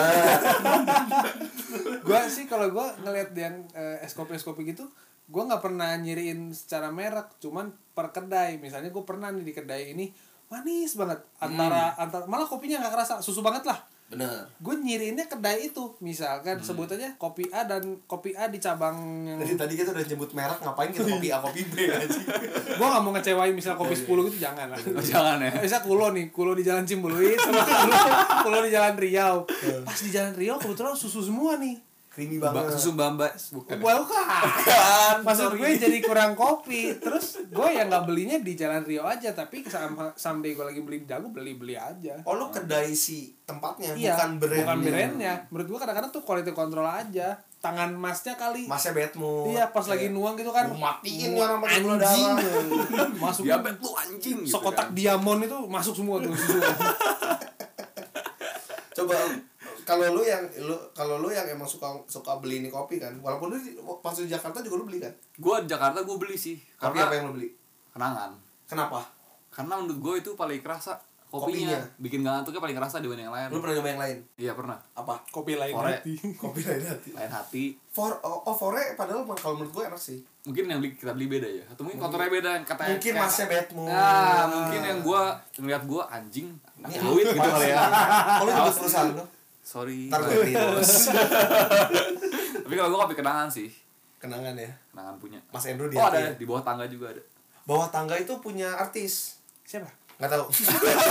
B: gua sih kalau gua ngelihat yang eh, es kopi es kopi gitu gua nggak pernah nyiriin secara merek cuman per kedai misalnya gua pernah nih di kedai ini manis banget antara
C: Hmm.
B: antara malah kopinya nggak kerasa susu banget lah
A: Bener
B: gue nyiriinnya kedai itu misalkan
C: Hmm.
B: sebut aja kopi A dan kopi A di cabang yang
A: Jadi tadi kita udah nyebut merek ngapain kita kopi A kopi B ya, aja
B: gue gak mau ngecewain misal
A: Iya,
B: kopi 10 gitu jangan lah
C: Oh, Jangan ya
B: bisa kulo nih kulo di jalan Cimbuluit sama kulo, kulo di jalan Riau
A: Iya.
B: pas di jalan Riau kebetulan susu semua nih
A: Creamy
C: Mbak
A: banget
C: susu bamba Bukan
A: Iya. Kan,
B: Bukan. Maksud gue jadi kurang kopi. Terus gue yang nggak belinya di Jalan Rio aja, tapi sama someday gue lagi beli di Dago beli-beli aja.
A: Oh lu kedai si tempatnya
B: Iya,
A: bukan brand
B: Bukan brandnya. Menurut gue kadang-kadang tuh quality control aja. Tangan masnya kali.
A: Masnya Batmo
B: Iya, pas lagi nuang gitu kan.
A: Gua matiin nih orang pakai gula
B: Anjing.
A: darah.
B: masuk
C: Diabet Ya, lu anjing gitu
B: sekotak
C: kan.
B: diamond itu masuk semua tuh. susu.
A: Coba kalau lu yang lu kalau lu yang emang suka suka beli ini kopi kan walaupun lu di- pas di Jakarta juga lu beli kan
C: Gue di Jakarta gue beli sih
A: kopi
C: Karena
A: apa ya? yang lu beli
C: kenangan
A: kenapa
C: Karena menurut gue itu paling kerasa Kopinya,
A: Kopinya.
C: Bikin gak ngantuknya paling kerasa dibanding yang lain
A: lu pernah nyoba yang lain
C: Iya pernah
A: apa
B: Kopi lain
C: Korek.
B: hati.
A: kopi lain hati
C: Lain hati
A: For, oh, oh, fore padahal kalau menurut gue enak sih
C: Mungkin yang beli, kita beli beda ya Atau mungkin kontornya beda yang katanya
A: mungkin
C: kayak-
A: masnya Batmo
C: Ah, mungkin yang gue Ngeliat gue anjing Anak duit gitu Iya. kali ya
A: Kalau nyebut perusahaan lu
C: Sorry
A: Ntar gue beli terus
C: Tapi kalau gue kopi kenangan sih
A: Kenangan ya
C: Kenangan punya
A: Mas Endro di
C: Oh
A: hati
C: ada
A: ya?
C: di bawah tangga juga ada.
A: Bawah tangga itu punya artis
B: Siapa?
A: Gak tau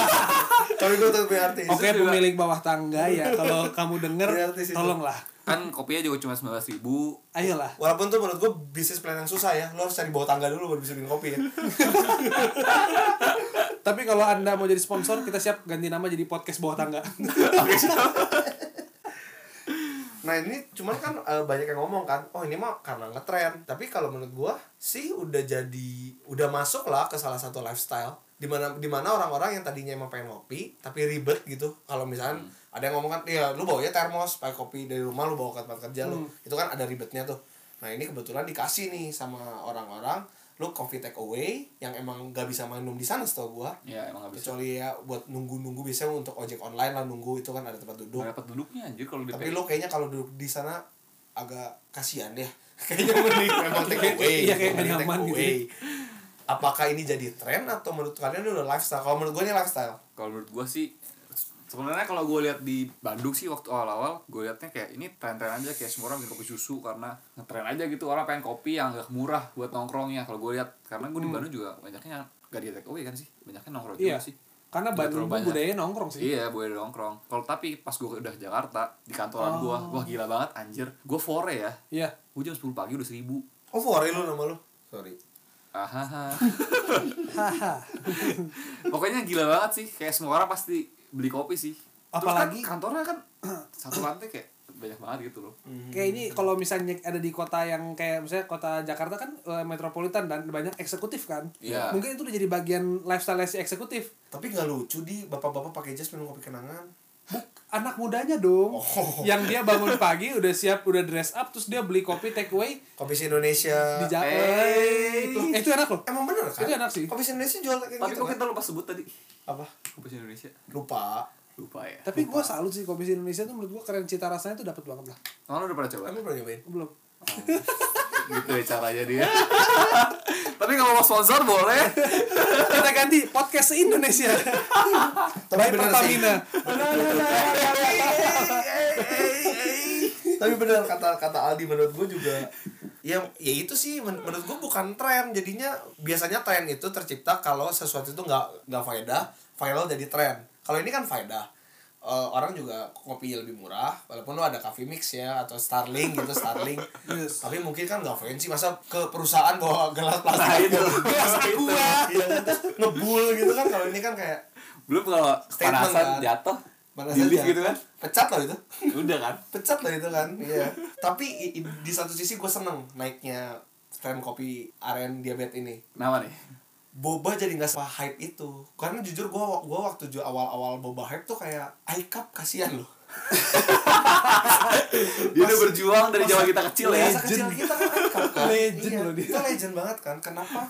A: Tapi gue tau punya artis
B: Oke,
C: juga-
B: pemilik bawah tangga ya. Kalau kamu
A: Iya,
B: denger,
A: artis itu.
B: tolonglah.
C: Kan kopinya juga cuma sembilan ribu.
B: Ayolah.
A: Walaupun tuh menurut gue bisnis plan yang susah ya Lo harus cari bawah tangga dulu baru bisa bikin kopi ya
B: Tapi kalau Anda mau jadi sponsor, kita siap ganti nama jadi podcast bawah tangga.
A: Nah ini cuman kan eh, banyak yang ngomong kan, oh ini mah karena ngetren. Tapi kalau menurut gua sih udah jadi udah masuk lah ke salah satu lifestyle dimana dimana orang-orang yang tadinya emang pengen ngopi tapi ribet gitu kalau misalnya ada yang ngomong kan ya lu bawanya termos pakai kopi dari rumah lu bawa ke tempat kerja lu itu kan ada ribetnya tuh nah ini kebetulan dikasih nih sama orang-orang lu coffee take away yang emang gak bisa minum di sana setahu gua
C: ya emang gak bisa
A: kecuali ya buat nunggu-nunggu biasanya untuk ojek online lah nunggu itu kan ada tempat duduk
C: Gak dapat duduknya anjir kalau di
A: tapi
C: PK.
A: lo kayaknya kalau duduk di sana agak kasihan deh kayaknya mending memang take away
B: Iya, kayak
A: mending
B: nggak
A: take
B: nyaman gitu.
A: away. apakah ini jadi tren atau menurut kalian ini udah lifestyle kalau menurut gue ini lifestyle
C: kalau menurut gue sih se- sebenarnya kalau gue lihat di Bandung sih waktu awal-awal gue liatnya kayak ini tren-tren aja kayak semua orang bikin kopi susu karena ngetren aja gitu orang pengen kopi yang agak murah buat nongkrongnya kalau gue lihat karena
A: Hmm.
C: gue di Bandung juga banyaknya gak di take away kan sih banyaknya nongkrong
B: Iya.
C: juga sih
B: Karena
C: Nggak
B: Bandung
C: terlalu
B: tuh
C: banyak.
B: budayanya nongkrong sih.
C: Iya, boleh nongkrong. Kalau tapi pas gue udah Jakarta, di
A: Oh.
C: kantoran gua gue, wah gila banget anjir. Gue fore ya.
B: Iya.
C: Gue jam 10 pagi udah seribu.
A: oh fore lu nama lu sorry
C: Ahaha.
B: Haha.
C: Pokoknya gila banget sih. Kayak semua orang pasti beli kopi sih. Terus
B: Apalagi-
C: kan kantornya kan satu lantai kayak banyak banget gitu loh.
A: Hmm.
B: Kayak ini kalau misalnya ada di kota yang kayak misalnya kota Jakarta kan eh, metropolitan dan banyak eksekutif kan.
C: Iya.
B: Mungkin itu udah jadi bagian lifestyle si eksekutif.
A: tapi nggak lucu di bapak-bapak pakai jas minum kopi kenangan
B: Anak mudanya dong.
A: Oh.
B: Yang dia bangun pagi udah siap udah dress up terus dia beli kopi take away
A: kopi si Indonesia
B: di Jakarta.
C: eh.
B: Eh, itu enak loh.
A: emang bener kan
B: Itu enak sih.
A: kopi si Indonesia jual kayak
C: Tapi
A: gitu
C: kok
A: kan?
C: kita lupa sebut tadi
A: apa
C: Kopi Indonesia?
A: lupa
C: Lupa ya.
B: Tapi gue salut sih kopi Indonesia tuh menurut gue keren cita rasanya tuh dapat banget lah.
C: Emang lu udah pernah coba?
A: kamu pernah nyobain
B: Belum.
C: gitu ya caranya dia. Tapi kalau mau sponsor boleh.
B: Kita ganti podcast Indonesia.
A: tapi
B: By
A: bener sih
B: Pertamina.
A: tapi bener kata kata Aldi menurut gue juga ya ya itu sih men- menurut gue bukan tren jadinya biasanya tren itu tercipta kalau sesuatu itu nggak nggak faedah viral jadi tren kalau ini kan faedah Eh, orang juga kopi lebih murah walaupun lo ada coffee mix ya atau starling gitu starling
B: Yes.
A: tapi mungkin kan nggak fancy masa ke perusahaan bawa gelas plastik
C: Nah, itu.
A: gelas aqua iya, terus ngebul gitu kan kalau ini kan kayak
C: Belum kalau
A: Statement
C: panasan
A: kan.
C: jatuh.
A: mana
C: di lift
A: saja.
C: gitu kan.
A: pecat loh itu
C: Udah kan.
A: pecat lah itu kan iya tapi i- i- di satu sisi gue seneng naiknya tren kopi aren diabetes ini
C: Kenapa nih?
A: boba jadi nggak se hype itu karena jujur gue gua waktu ju- awal-awal boba hype tuh kayak I cup kasihan loh
C: Dia udah berjuang dari zaman kita kecil ya.
A: masa kecil kita kan I cup kan
B: Legend
A: Iya,
B: loh dia.
A: itu legend banget kan kenapa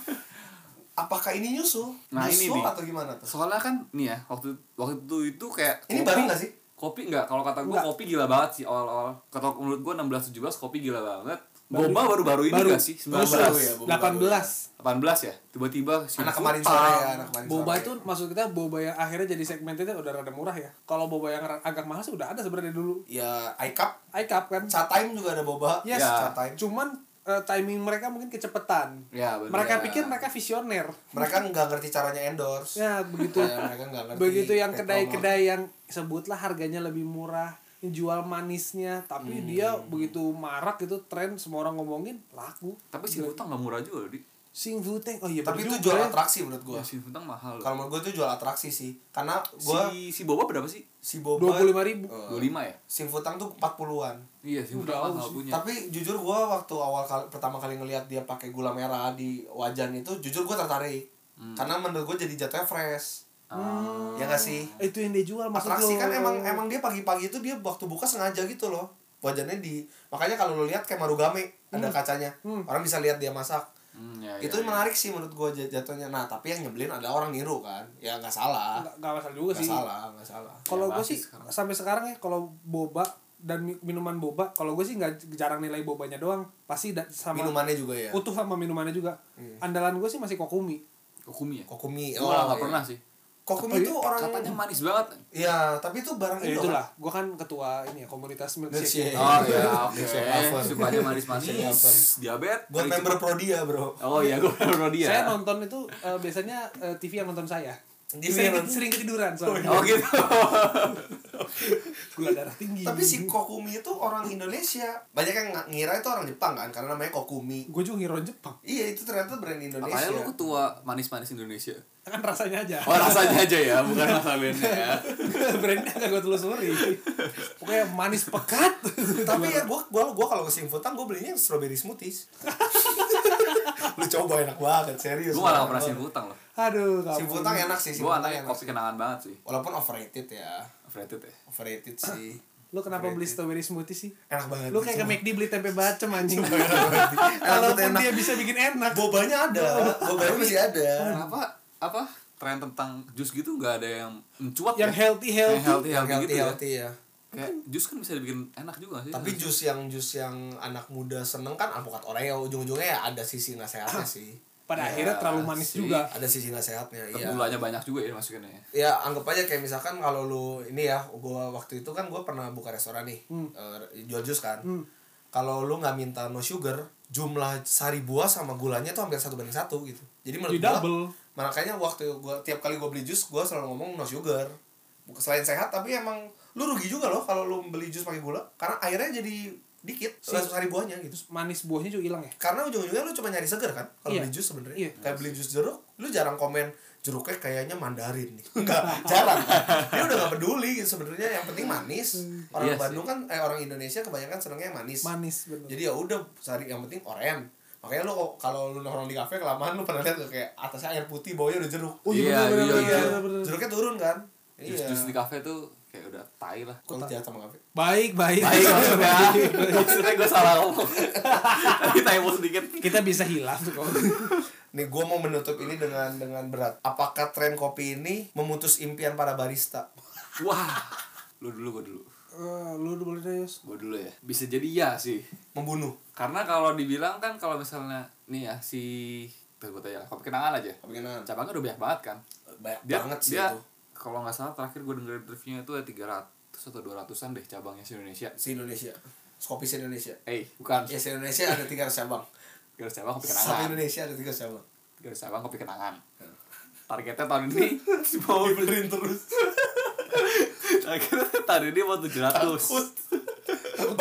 A: apakah ini nyusul
C: Nah, ini
A: nyusul
C: nih.
A: atau gimana tuh
C: Soalnya kan nih ya, waktu waktu itu itu kayak
A: ini
C: kopi-
A: baru nggak sih
C: Kopi enggak, kalau kata gue
B: Enggak.
C: kopi gila banget sih awal-awal. Kata menurut gue 16 17 kopi gila banget.
B: Baru-
C: Boba baru-baru ini
B: Baru.
C: nggak sih? Iya, 19.
A: Baru ya, Boba baru
C: 18
B: 18.
C: ya? Tiba-tiba si
A: anak kemarin
C: Kupang.
A: sore ya anak kemarin
B: Boba
A: sore.
B: itu maksud kita boba yang akhirnya jadi segmentednya udah rada murah ya. Kalau boba yang ra- agak mahal sih udah ada sebenarnya dulu.
A: ya I cup
B: iCup kan.
A: Chat time juga ada boba
B: Yes. Ya.
A: Chat time
B: Cuman eh, timing mereka mungkin kecepetan.
C: Ya, bener.
B: Mereka pikir mereka visioner.
A: mereka nggak ngerti caranya endorse
B: Ya begitu.
A: Kayak mereka nggak ngerti
B: begitu yang
A: kayak
B: kedai-kedai yang sebutlah harganya lebih murah jual manisnya tapi
A: Hmm.
B: dia begitu marak itu tren semua orang ngomongin laku
C: tapi si utang nggak murah juga loh, di.
B: sing Fu Teng oh iya
A: tapi itu
B: bener
A: jual
B: juga ya.
A: atraksi menurut gue
C: Ya, si utang mahal.
A: kalau
C: Kalau
A: menurut gue itu jual atraksi sih karena gue
C: si si Boba berapa sih?
A: si boba
B: dua puluh lima ribu
A: Eh,
C: 25 ya?
A: Sing Futang tuh 40-an
C: Iya, si
B: Udah
C: utang mahal
B: aus.
C: punya.
A: tapi jujur gue waktu awal kali, pertama kali ngelihat dia pakai gula merah di wajan itu jujur gue tertarik
B: Hmm.
A: karena menurut gue jadi jatuhnya fresh
C: Ah,
A: ya gak sih
B: itu yang dia jual Ah. maksud
A: atraksi
B: lo.
A: kan emang emang dia pagi-pagi itu dia waktu buka sengaja gitu loh wajannya di makanya kalau lo lihat kayak marugame
B: Hmm.
A: ada kacanya orang bisa lihat dia masak
C: Hmm,
B: Ah,
C: ya,
A: itu
C: ya,
B: iya,
C: ya.
A: menarik sih menurut gue jatuhnya nah tapi yang nyebelin ada orang niru kan ya nggak salah
B: nggak nggak masalah juga
A: nggak
B: sih
A: salah Iya, nggak salah
B: kalau
C: Ya,
B: gue
C: masih
B: sih
C: sekarang.
B: sampai sekarang ya kalau boba dan mi- minuman boba kalau gue sih nggak jarang nilai bobanya doang pasti da- sama
A: minumannya Iya. juga ya
B: utuh sama minumannya juga andalan gue sih masih kokumi
C: Kokumi ya?
A: kokumi
C: Gue malah nggak
A: iya.
C: pernah sih.
A: kokumi
B: Tapi
A: itu orang
C: Katanya manis banget.
A: ya tapi itu barang
B: ya
A: Indo
B: itulah gue kan ketua ini ya komunitas
A: Milkshake.
B: milkshake
C: Oh
A: iya,
C: iya, oke.
A: oke. Siapa?
C: Sukanya
A: Siapa?
C: manis-manis. Diabet.
A: kan. buat
B: Nah,
C: Dari
A: member
C: cepat.
A: Prodia bro
C: Oh iya, gue member dia.
B: Saya nonton itu eh, biasanya eh, TV yang nonton saya.
A: Dia
B: sering,
A: minum-
B: sering ketiduran soalnya
C: Oh gitu.
B: gula darah tinggi
A: Tapi si Kokumi itu orang Indonesia. Banyak yang ng- ngira itu orang Jepang kan karena namanya Kokumi.
B: gue juga ngiron Jepang
A: Iya, itu ternyata brand Indonesia.
C: Makanya lu ketua manis-manis Indonesia.
B: kan rasanya aja
C: Oh rasanya aja ya, bukan masa bandnya ya.
B: brandnya gak gue telusuri pokoknya manis pekat
A: Tapi ya gua gua gua kalau ke Simfutang gua belinya yang strawberry smoothies. lu coba enak banget, serius.
C: Gue malah
A: Enak
C: operasi
A: banget.
C: hutang loh.
B: aduh gak
A: Simfutang
B: ampun.
A: enak sih,
C: Gue
A: Simfutang
C: anaknya
A: enak.
C: kopi kenangan banget sih.
A: Walaupun overrated ya.
C: Overrated ya.
A: Overrated sih.
B: lu kenapa beli strawberry smoothie sih
A: Enak banget.
B: lu kayak ke
A: Sumpah.
B: McD beli tempe bacem anjing
A: Enak
B: walaupun
A: banget, enak.
B: dia bisa bikin enak
A: Bobanya ada. Bobanya masih ada.
C: Kenapa apa tren tentang jus gitu nggak ada yang mencuat
B: yang
C: ya?
B: healthy
C: Yang
B: healthy
C: healthy, healthy,
A: Healthy
C: gitu ya.
A: healthy ya.
C: Kayak jus kan bisa dibikin enak juga sih.
A: Tapi jus yang jus yang anak muda seneng kan alpukat Oreo ujung-ujungnya ya ada sisi nasehatnya sih.
B: pada
C: Ya,
B: akhirnya terlalu manis
C: sih.
B: juga
A: Ada sisi nasehatnya.
C: Tapi
A: Iya.
C: gulanya banyak juga ya masukinnya. ya.
A: ya anggap aja kayak misalkan kalau lu ini ya gua waktu itu kan gua pernah buka restoran nih eh, jual jus kan kalau lu nggak minta no sugar jumlah sari buah sama gulanya tuh hampir satu banding satu gitu jadi menurut
B: Di
A: gua
B: double.
A: makanya waktu gua tiap kali gua beli jus gua selalu ngomong no sugar Bukan- selain sehat tapi emang lu rugi juga loh kalau lu beli jus pakai gula karena airnya jadi dikit sari buahnya gitu
B: terus manis buahnya juga hilang ya
A: karena ujung-ujungnya lu cuma nyari seger kan kalau
B: Iya.
A: beli jus sebenarnya
B: Iya.
A: kayak beli jus jeruk lu jarang komen jeruknya kayaknya mandarin nih enggak jarang kan? dia udah gak peduli gitu sebenarnya yang penting manis orang
C: Iya sih.
A: Bandung kan eh orang Indonesia kebanyakan senengnya yang manis
B: manis bener
A: jadi ya udah sehari yang penting oren makanya lu kok- kalau lu nongkrong di kafe kelamaan lu pernah lihat nggak kayak atasnya air putih bawahnya udah jeruk
B: oh
C: Iya,
B: iya bener bener,
C: iya,
B: bener,
C: iya.
B: bener, bener.
A: jeruknya turun kan
C: Jus
A: iya
C: jus di kafe tuh kayak udah tai lah.
A: kalau jahat sama kafe
B: baik baik,
C: Tai maksudnya. Maksudnya gue salah ngomong. Tapi tai mau sedikit.
B: kita bisa hilaf tuh kok
A: Nih gue mau menutup ini dengan dengan berat. Apakah tren kopi ini memutus impian para barista?
C: Wah. Lu dulu gue dulu.
B: Eh, lu boleh deh Yus
C: Gue dulu ya. Bisa jadi ya sih.
A: Membunuh.
C: Karena kalau dibilang kan kalau misalnya nih ya si Tuh gue tanya, kopi kenangan aja
A: Kemungkinan
C: Cabangnya udah banyak banget kan
A: banyak
C: dia,
A: banget sih
C: dia,
A: itu
C: Kalau nggak salah terakhir gue dengerin reviewnya itu ya 300 atau 200an deh cabangnya si Indonesia
A: si Indonesia kopi si Indonesia
C: Eh bukan
A: ya si Indonesia ada 300 cabang
C: Garis cabang kopi
A: satu Ya.
C: kenangan
A: Indonesia ada 300 cabang
C: Garis cabang kopi kenangan Targetnya tahun ini mau
A: dibeliin Oh, terus
C: Targetnya tahun ini mau 700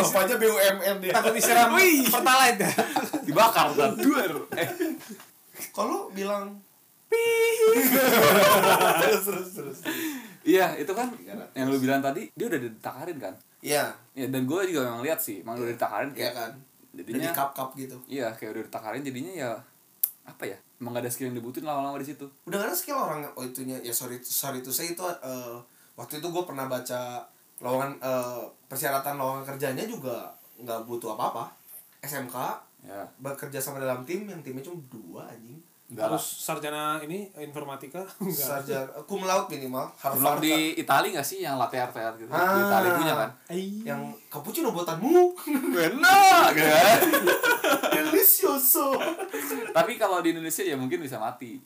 A: bapaknya BUMN dia
B: takut disiram pertalite ya
C: Dibakar dan duer Eh
A: kalau lu bilang terus terus terus
C: Iya itu kan yang lu bilang tadi Dia udah ditakarin kan
A: iya
C: Ya dan gue juga memang lihat sih Emang udah ditakarin
A: iya
C: kayak
A: kan jadi
C: Jadinya
A: cup cup gitu
C: Iya kayak udah ditakarin jadinya ya Apa ya Emang gak ada skill yang dibutuhin lama-lama di situ
A: udah gak ada skill orang oh itunya ya sorry sorry to say itu eh, waktu itu gue pernah baca lowongan eh, persyaratan lowongan kerjanya juga nggak butuh apa apa SMK
C: Ya
A: bekerja sama dalam tim yang timnya cuma dua anjing
C: Enggak lah
B: terus sarjana ini informatika enggak
A: sarjana cum laude minimal
C: Belum
A: Harvard
C: di Itali gak sih yang latte art art gitu?
A: Ah.
C: Di Itali punya kan?
A: Iya. yang cappuccino buatanmu
C: Benar kan?
A: delicioso
C: Tapi kalau di Indonesia ya mungkin bisa mati.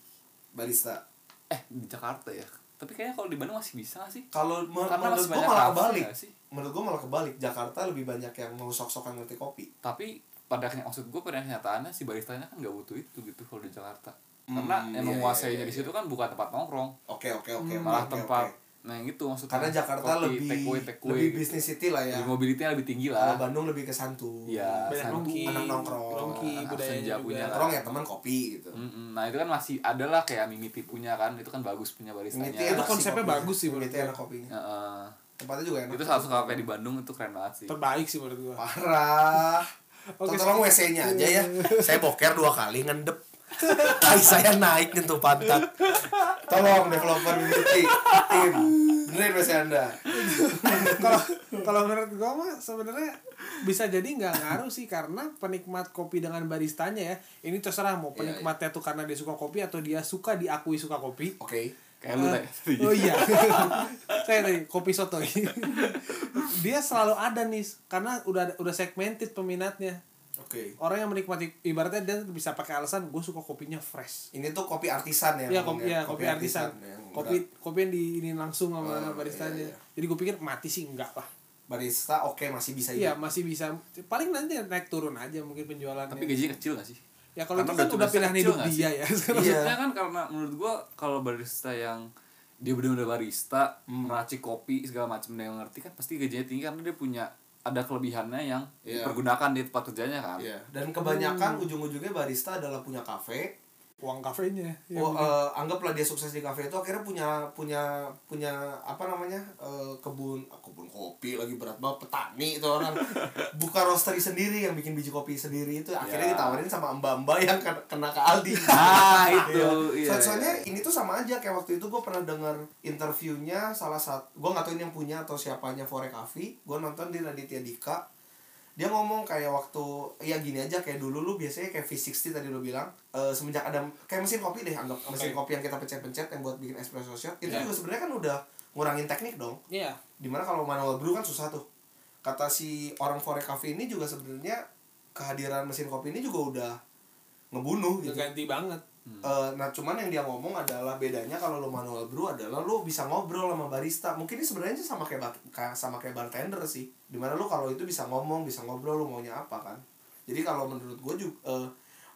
A: barista
C: Eh, di Jakarta ya. Tapi kayaknya kalau di Bandung masih bisa gak sih?
A: kalau me-
C: Karena
A: menurut
C: masih
A: gua
C: banyak
A: malah
C: kafe
A: kebalik
C: nggak sih?
A: menurut gua malah kebalik Jakarta lebih banyak yang mau sok-sokan ngerti kopi
C: Tapi pada akhirnya maksud gue pada kenyataannya si baristanya kan gak butuh itu gitu kalau di Jakarta. Karena
A: Hmm,
C: yang
A: iya,
C: menguasainya di
A: iya,
C: situ kan bukan tempat nongkrong,
A: oke oke oke oke,
C: Hmm. malah
A: oke,
C: tempat
A: oke.
C: nah yang itu maksudnya.
A: karena Jakarta
C: kopi,
A: lebih
C: take away, take away
A: lebih
C: gitu.
A: bisnis city lah ya
C: Lebih mobility-nya lebih tinggi
A: kalau
C: lah.
A: Bandung lebih ke santu
C: Iya,
B: banyak
C: santu.
B: nongki
A: anak nongkrong,
B: nongki
C: anak senja
B: budaya
C: punya
B: juga
C: lah.
A: orang ya teman kopi gitu
C: Mm-mm. Nah itu kan masih ada lah kayak Mimiti punya kan, itu kan bagus punya baristanya.
A: Mimiti
B: Itu
A: enak sih
B: konsepnya
A: kopinya.
B: bagus sih,
A: Mimiti
B: menurut
A: enak kopinya
C: Heeh.
A: tempatnya juga enak
C: itu salah satu kafe di Bandung itu keren banget sih
B: terbaik sih menurut gua
A: parah
B: Oke,
A: tolong WC-nya aja ya saya boker dua kali ngendep kali saya naik nyentuh pantat tolong developer Unity tim benerin WC anda
B: kalau kalau menurut gua mah sebenarnya bisa jadi nggak ngaruh sih karena penikmat kopi dengan baristanya ya ini terserah mau
C: Iya,
B: penikmatnya tuh karena dia suka kopi atau dia suka diakui suka kopi
A: oke
C: kayak lu
B: Eh,
C: teh
B: oh iya saya tadi kopi soto dia selalu ada nih karena udah udah segmented peminatnya
A: oke
B: orang yang menikmati ibaratnya dia bisa pakai alasan gue suka kopinya fresh
A: ini tuh kopi artisan ya
B: Iya
A: ngomongnya.
B: kopi, ya, kopi artisan,
A: yang
B: kopi
A: berat.
B: kopi yang di ini langsung sama
A: iya, Oh,
B: baristanya.
A: iya, iya.
B: Jadi gue pikir mati sih enggak lah.
A: barista oke masih bisa
B: Iya
A: hidup.
B: masih bisa paling nanti naik turun aja mungkin penjualannya.
C: tapi gajinya kecil gak sih
B: ya kalau itu
C: Karena udah
B: kan udah
C: tugasnya
B: pilihan
C: kecil
B: hidup
C: nggak
B: dia ya.
A: Iya.
C: maksudnya kan karena menurut gua kalau barista yang dia benar-benar barista
A: Hmm.
C: meracik kopi segala macam dia ngerti kan pasti gajinya tinggi karena dia punya ada kelebihannya yang
A: Iya.
C: dipergunakan di tempat kerjanya kan
A: Iya. Dan kebanyakan ujung-ujungnya barista adalah punya kafe.
B: uang kafenya
C: Iya,
B: ya,
A: Oh, eh, anggaplah dia sukses di kafe itu akhirnya punya punya punya apa namanya eh, kebun ah, kebun kopi lagi berat banget petani itu orang buka roastery sendiri yang bikin biji kopi sendiri itu
C: Ya.
A: akhirnya ditawarin sama mbak-mbak yang kena, kena ke Aldi.
C: Ah, itu, iya,
A: Iya. So- soalnya
C: iya.
A: ini tuh sama aja kayak waktu itu gue pernah dengar interviewnya salah satu gue nggak tahu ini yang punya atau siapanya Fore Cafe gue nonton di Raditya Dika dia ngomong kayak waktu ya gini aja kayak dulu lu biasanya kayak V60 tadi lu bilang eh, semenjak ada kayak mesin kopi deh anggap mesin kopi yang kita pencet-pencet yang buat bikin espresso shot itu
B: Iya.
A: juga sebenarnya kan udah ngurangin teknik dong
B: Iya.
A: dimana kalau manual brew kan susah tuh kata si orang Fore Cafe ini juga sebenarnya kehadiran mesin kopi ini juga udah ngebunuh gitu
B: ganti banget
A: Eh, nah cuman yang dia ngomong adalah bedanya kalau lo manual brew adalah lo bisa ngobrol sama barista mungkin ini sebenarnya sih sama kayak ba- ka- sama kayak bartender sih dimana lo kalau itu bisa ngomong bisa ngobrol lo maunya apa kan jadi kalau menurut gue juga eh,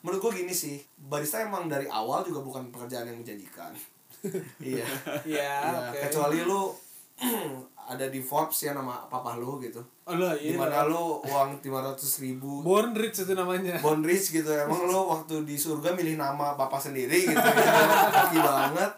A: menurut gue gini sih barista emang dari awal juga bukan pekerjaan yang menjanjikan iya
B: Iya,
A: Iya,
B: oke.
A: kecuali lo ada di Forbes ya nama papa lo gitu
B: oh lah iya
A: dimana lo uang 500.000 ribu
B: born rich itu namanya
A: Bondrich gitu emang lo waktu di surga milih nama bapak sendiri gitu ya kaki banget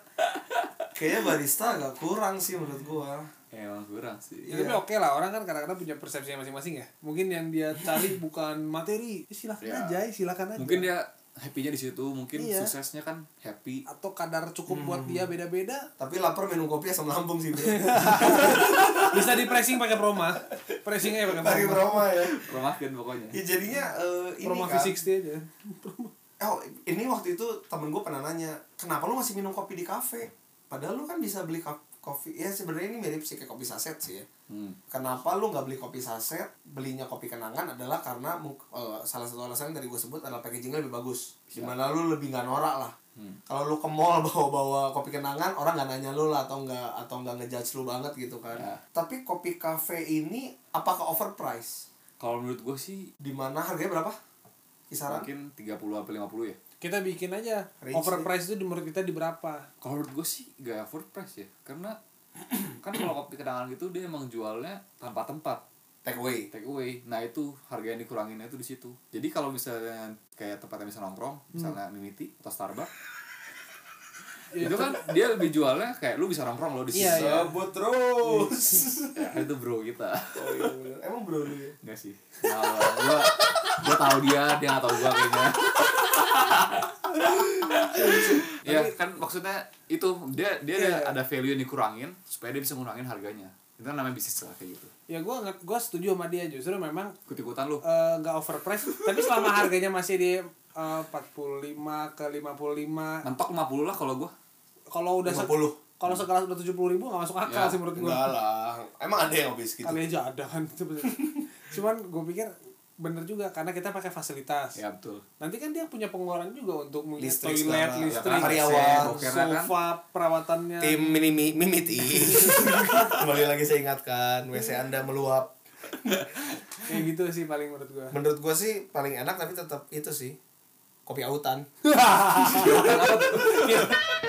A: kayaknya barista agak kurang sih menurut gua
C: emang kurang
A: Iya,
C: sih
B: Ya, tapi oke lah orang kan kadang-kadang punya persepsinya masing-masing ya mungkin yang dia cari bukan materi ya, silakan
C: Iya.
B: aja ya, silakan aja
C: mungkin dia happy-nya di situ mungkin
B: Iya.
C: suksesnya kan happy
B: atau kadar cukup buat dia beda-beda
A: tapi lapar minum kopi asam lambung sih bro
B: bisa di pressing pakai proma pressingnya pakai
A: dari
B: proma
A: Roma ya
C: rumahkan pokoknya
A: ya jadinya eh, ini
B: proma
A: kan
B: V60 aja Proma.
A: oh ini waktu itu temen gua pernah nanya kenapa lu masih minum kopi di kafe padahal lu kan bisa beli kaf- kopi ya sebenarnya ini mirip sih kayak kopi saset sih ya
C: Hmm.
A: kenapa lu nggak beli kopi saset belinya kopi kenangan adalah karena mu- eh, salah satu alasan yang tadi gue sebut adalah packagingnya lebih bagus dimana lu lebih nggak norak lah kalau lu ke mall bawa-bawa kopi kenangan orang nggak nanya lu lah atau nggak atau nggak ngejudge lu banget gitu kan
C: Ya.
A: tapi kopi cafe ini apakah overpriced
C: kalau menurut gue sih
A: dimana harganya berapa kisaran
C: mungkin 30 sampai 50 ya
B: kita bikin aja
A: Rich
B: overprice itu di menurut kita di berapa
C: kalau menurut gue sih gak overpriced ya karena kan kalau kopi kenangan gitu dia emang jualnya tanpa tempat
A: take away
C: take away nah itu harga yang dikuranginnya itu di situ jadi kalau misalnya kayak tempat yang bisa nongkrong
B: Hmm.
C: misalnya mimiti atau starbucks
B: Ya,
C: itu kan dia lebih jualnya kayak lu bisa nongkrong lo di situ
B: Iya, iya.
A: sebut terus
C: Ya, itu bro kita
A: Oh, iya bener. emang bro lu ya
C: Enggak sih nah, gua gua tahu dia dia nggak tahu gua kayaknya ya kan maksudnya itu dia dia ada-
B: Iya.
C: ada value yang dikurangin supaya dia bisa ngurangin harganya itu kan namanya bisnis lah kayak gitu
B: ya gue gue setuju sama dia justru memang
C: ikut ikutan lu
B: eh, nggak overpriced tapi selama harganya masih di eh, 45 ke 55
C: mentok 50 lah kalau gua
B: kalau udah se-
A: 50.
B: kalau sekelas udah 70 ribu nggak masuk akal
C: Ya,
B: sih menurut gue
A: enggak lah emang ada yang habis gitu
B: kali aja ada kan cuman gue pikir bener juga karena kita pakai fasilitas
C: ya betul
B: nanti kan dia punya pengeluaran juga untuk mungkin
A: Listrik
B: toilet
A: segala,
B: listrik
A: karyawan,
C: bokernya kan.
B: sofa perawatannya
A: tim mini mi- mimiti kembali lagi saya ingatkan wc anda meluap
B: kayak gitu sih paling menurut gue
A: menurut gua sih paling enak tapi tetap itu sih kopi autan
B: Iya,